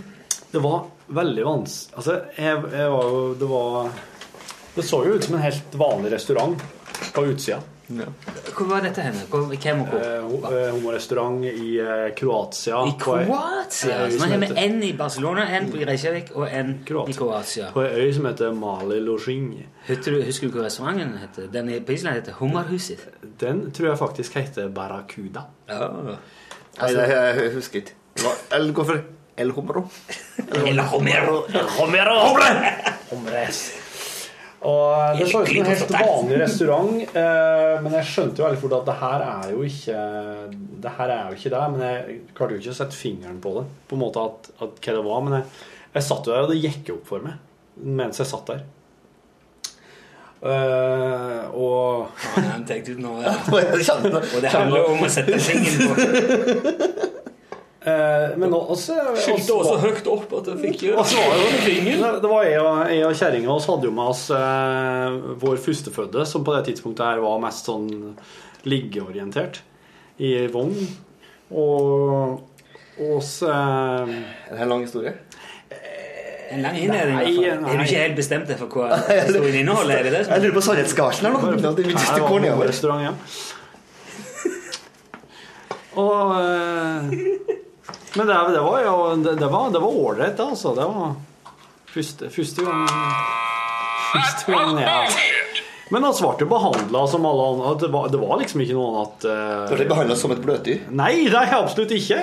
Speaker 7: Det var veldig vanskelig Altså, jeg, jeg var jo Det var Det så jo ut som en helt vanlig restaurant på utsida.
Speaker 2: Hvor var dette henne? Hvor, hvem og hvor?
Speaker 7: Eh, ho- eh, homorestaurant i eh, Kroatia.
Speaker 2: I Kroatia? Så nå har vi en i Barcelona, en i Reykjavik og en i Kroatia.
Speaker 7: På ei øy som heter Mali Lozhin.
Speaker 2: Husker du, husker du hva restauranten heter? Den i- på Island heter Hummerhuset.
Speaker 7: Den tror jeg faktisk heter Barracuda.
Speaker 2: Altså-
Speaker 10: Nei, det- jeg husker ikke. Det var- Eller hvorfor? El Homero.
Speaker 7: El Homero. Hombre! Og det så ut som en helt vanlig restaurant, eh, men jeg skjønte jo veldig fort at det her er jo ikke Det her er jo ikke det, men jeg klarte jo ikke å sette fingeren på det. På en måte at, at hva det var, Men jeg, jeg satt jo der, og det gikk jo opp for meg mens jeg satt der. Eh, og
Speaker 2: Han tenkte ut nå ja. Og det handler om å sette fingeren på
Speaker 7: Eh, Men også,
Speaker 13: Skyldte også høyt opp at jeg fikk
Speaker 7: Og så var det jo
Speaker 13: fingeren.
Speaker 7: Det var jeg og, jeg og kjerringa oss hadde jo med oss eh, vår førstefødte, som på det tidspunktet her var mest sånn liggeorientert, i vogn. Og oss eh,
Speaker 10: Er det en lang historie?
Speaker 2: En lang innledning. i hvert fall.
Speaker 7: Nei, nei.
Speaker 2: Er du ikke helt bestemt deg for hva historien inneholder? Er det det som
Speaker 10: Jeg lurer på sannhetsgasjen her nå. Det er
Speaker 7: Nei,
Speaker 10: mye
Speaker 7: det var
Speaker 10: korn
Speaker 7: en
Speaker 10: igjen.
Speaker 7: restaurant, ja. Og eh, Men det, det var jo Det, det var det var ålreit, det, altså. Det var første, første gang Første gang jeg Men han svarte behandla som alle andre. Det var, det var liksom ikke noe annet eh,
Speaker 10: Du ble behandlet som et bløtdyr?
Speaker 7: Nei, det er jeg absolutt ikke.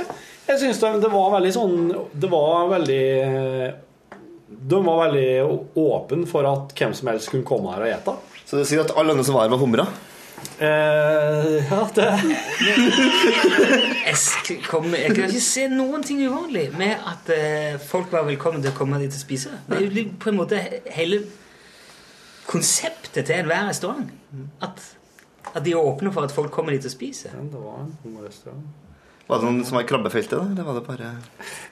Speaker 7: Jeg synes det, det var veldig sånn Det var veldig eh, De var veldig åpne for at hvem som helst kunne komme her og ete.
Speaker 10: Så det sier at alle andre som var her, var humra?
Speaker 7: Eh, ja, det
Speaker 2: Jeg, sk- kom, jeg kan ikke se noen ting uvanlig med at eh, folk var velkommen til å komme dit og spise. Det er jo litt- på en måte hele konseptet til enhver restaurant. At, at de er åpne for at folk kommer dit og spiser.
Speaker 7: Det var en homorestaurant.
Speaker 10: Var det noen som var i krabbefeltet, da? Eller var det bare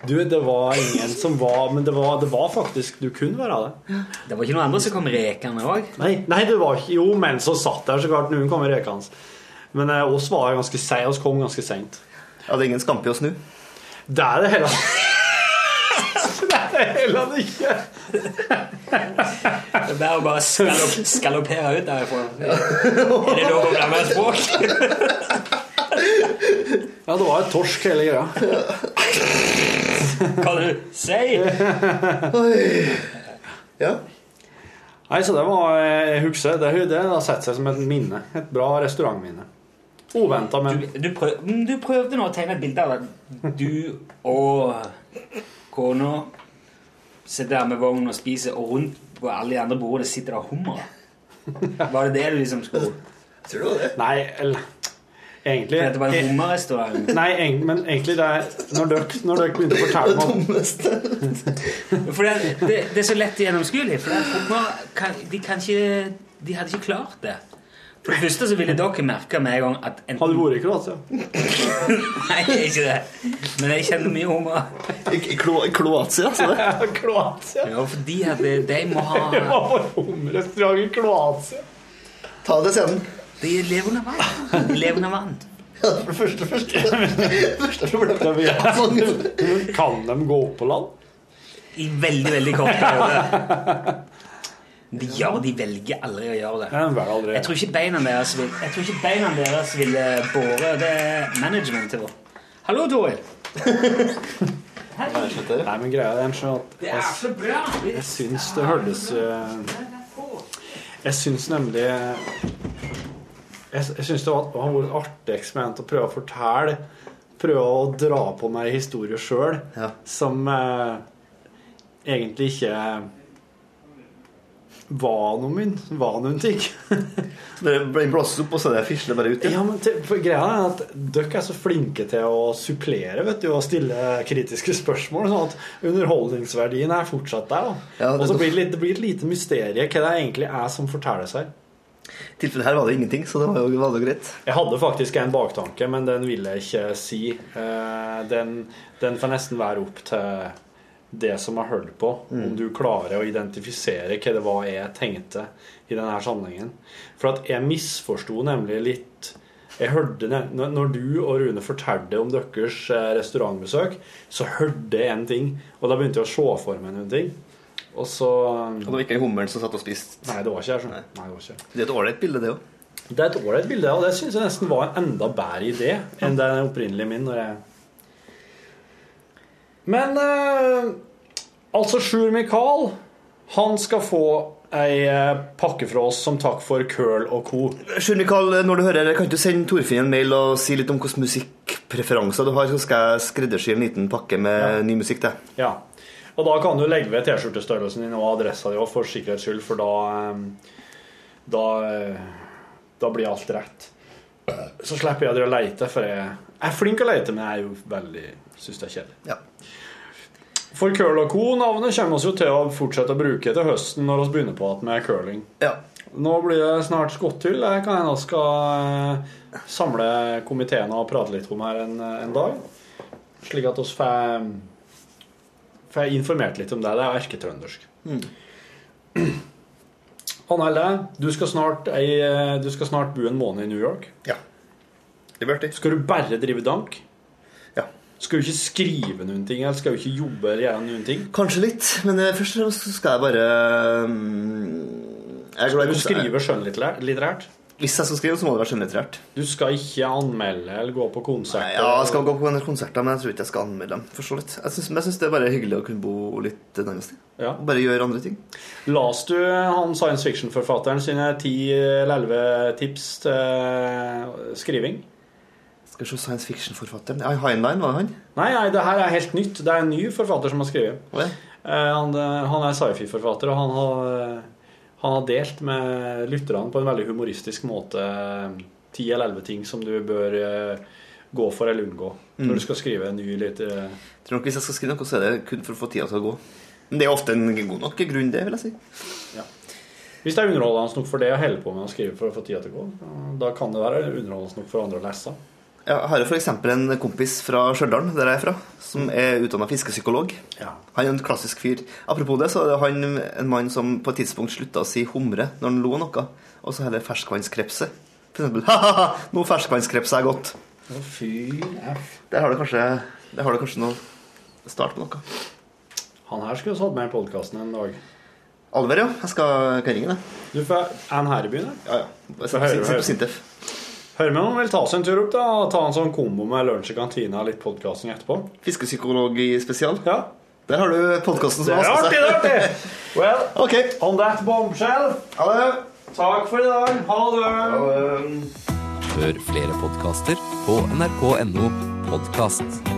Speaker 7: Du, det var ingen som var Men det var, det var faktisk Du kunne være det.
Speaker 2: Det var ikke noen andre som kom rekende òg?
Speaker 7: Nei, nei, det var ikke Jo, men så satt der så klart noen kom i rekene. Men eh, oss var ganske seige. Oss kom ganske seint.
Speaker 10: Ja, det er ingen skampe å snu?
Speaker 7: Det er det hele Det er heller ikke.
Speaker 2: Det er bare å bare skalop, skalopere ut derifra. Er det lov å blande språk?
Speaker 7: Ja, det var et torsk hele greia.
Speaker 2: Kan du si?
Speaker 10: Ja.
Speaker 7: Nei, så det var eh, Jeg husker det. Det har satt seg som et minne. Et bra restaurantminne. Oventa, men
Speaker 2: Du, prøv, mm, du prøvde nå å tegne et bilde av at du og kona sitter der med vogn og spiser, og rundt på alle de andre bordene sitter det hummer. Var det det du liksom skulle?
Speaker 10: Tror du det?
Speaker 7: Nei, eller Egentlig
Speaker 2: Dette var en hummerrestaurant.
Speaker 7: Nei, egent- men egentlig det er Når dere, når dere begynte å fortelle meg om
Speaker 2: For det, det, det er så lett gjennomskuelig. For at hummer kan, de, kan ikke, de hadde ikke klart det. For det første så ville dere merke med en gang at enten
Speaker 7: Hadde vært i Kroatia.
Speaker 2: Nei, ikke det. Men jeg kjenner mye hummer.
Speaker 10: I, i Klo, Kloatia, sa
Speaker 7: du? Kroatia.
Speaker 2: Ja, for de, hadde, de må ha
Speaker 7: Det var på romrestaurant i Kroatia.
Speaker 10: Ta det scenen.
Speaker 2: De lever under vann. De lever under vann.
Speaker 10: Ja, for det første, første, første problemet.
Speaker 7: Kan de gå opp på land?
Speaker 2: I veldig, veldig kort periode. De, ja, de velger aldri å gjøre det. Jeg tror ikke beina deres vil, jeg tror ikke beina deres ville båre det managementet vårt. Hallo, Toril.
Speaker 7: Nei, men greia er skjønner at
Speaker 2: Det er så bra!
Speaker 7: Jeg syns det hørtes eh, Jeg syns nemlig Jeg, jeg syns det var, har vært et artig eksperiment å prøve å fortelle Prøve å dra på meg historier sjøl som eh, egentlig ikke var noe min. Var noen ting.
Speaker 10: Det ble blåst opp, og så er det fisler bare ut.
Speaker 7: Ja, men til, for greia er at Dere er så flinke til å supplere vet du, og stille kritiske spørsmål. Sånn at underholdningsverdien er fortsatt der. da
Speaker 10: Ja, det-
Speaker 7: Og så blir det, litt, det blir et lite mysterium hva det egentlig er som fortelles her.
Speaker 10: I tilfellet her var det ingenting, så det var jo, var det greit.
Speaker 7: Jeg hadde faktisk en baktanke, men den vil jeg ikke si. Eh, Den, den får nesten være opp til det som har hørt på, om
Speaker 10: Mm.
Speaker 7: du klarer å identifisere hva det var jeg tenkte i denne sammenhengen. For at jeg misforsto nemlig litt jeg hørte, ne- når- Når du og Rune fortalte om deres eh, restaurantbesøk, så hørte jeg en ting. Og da begynte jeg å se for meg noen ting. Og så
Speaker 10: Og det var ikke hummeren som satt og spiste.
Speaker 7: Nei, det var ikke jeg. skjønner du. Nei, det var ikke jeg.
Speaker 10: Det er et ålreit bilde, det òg.
Speaker 7: Det er et ålreit bilde, og det syns jeg nesten var en enda bedre idé enn den opprinnelige min. Når jeg... Men eh, altså, Sjur Mikael, han skal få ei eh, pakke fra oss som takk for curl og co.
Speaker 10: Sjur Mikael, når du hører det, kan ikke du sende Torfinn en mail og si litt om hvilke musikkpreferanser du har, så skal jeg skreddersy en liten pakke med ny musikk til.
Speaker 7: Ja. Og da kan du legge ved T-skjortestørrelsen din og adressa di også, for sikkerhets skyld, for da eh, Da, eh, da blir alt rett. Så slipper jeg å lete, for jeg er flink å lete, men jeg er jo veldig syns det er kjedelig. For Curl og Co-navnet kommer oss jo til å fortsette å bruke til høsten når vi begynner på igjen med curling. Nå blir det snart skottull. Det kan hende vi skal eh, samle komiteen og prate litt om her en, en dag. Slik at vi får, får informert litt om det. Det er erketrøndersk. Anne Helle, du skal, snart, ei, eh, du skal snart bo en måned i New York. Ja. Det blir det. Skal du bare drive dank? Ja. Skal du ikke skrive noen ting, eller skal du ikke jobbe eller gjøre noen ting?
Speaker 10: Kanskje litt, men eh, først og fremst så skal jeg bare mm, jeg
Speaker 7: Skal du skrive skjønnlitterært?
Speaker 10: Hvis jeg skal skrive, så må det være skjønnlitterært.
Speaker 7: Du skal ikke anmelde eller gå på konserter?
Speaker 10: Ja, jeg skal gå på en del konserter, men jeg tror ikke jeg skal anmelde dem. Forstå litt. Jeg synes, men jeg syns det er bare hyggelig å kunne bo litt et annet sted.
Speaker 7: Ja.
Speaker 10: Og bare gjøre andre ting.
Speaker 7: Las du han science fiction-forfatteren sine ti eller elleve tips til skriving?
Speaker 10: Skal vi se science fiction-forfatteren Ja, Heinlein, var det han?
Speaker 7: Nei, nei, det her er helt nytt. Det er en ny forfatter som har skrevet. Eh, Han, eh, han er sci-fi-forfatter, og han har, eh, han har delt med lytterne på en veldig humoristisk måte eh, ti eller elleve ting som du bør eh, gå for eller unngå
Speaker 10: Mm.
Speaker 7: når du skal skrive en ny litt eh,
Speaker 10: Jeg tror nok Hvis jeg skal skrive noe, så er det kun for å få tida til å gå. Men det er ofte en god nok grunn, det, vil jeg si.
Speaker 7: Hvis det er underholdende nok for det å holde på med å skrive for å få tida til å gå, da kan det være underholdende nok for andre å lese.
Speaker 10: Jeg har jo f.eks. en kompis fra Stjørdal, der jeg er fra, som er utdanna fiskepsykolog. Han er en klassisk fyr. Apropos det, så er det han en mann som på et tidspunkt slutta å si humre når han lo av noe, og så heller ferskvannskrepse. For eksempel ha-ha-ha, nå ferskvannskrepse er godt.
Speaker 7: Å, fy f.
Speaker 10: Der har du kanskje, der har du kanskje noe start på noe.
Speaker 7: Han her skulle vi hatt med i podkasten en dag.
Speaker 10: Alver, ja. Jeg skal kan jeg ringe, det.
Speaker 7: Du får en her i byen,
Speaker 10: ja. ja.
Speaker 7: Få høre,
Speaker 10: Sitt
Speaker 7: høre.
Speaker 10: på Sintef.
Speaker 7: Hør med om han vil ta seg en tur opp, da. og Ta en sånn kombo med lunsj i kantina og litt podkasting etterpå.
Speaker 10: Fiskepsykologi spesial.
Speaker 7: Ja.
Speaker 10: Der har du podkasten
Speaker 7: Det
Speaker 10: som
Speaker 7: er
Speaker 10: vasker
Speaker 7: artig,
Speaker 10: seg.
Speaker 7: det er artig! Well, on that bombshell
Speaker 10: Ha det.
Speaker 7: Takk for i dag. Ha det.
Speaker 14: Hør flere podkaster på nrk.no podkast.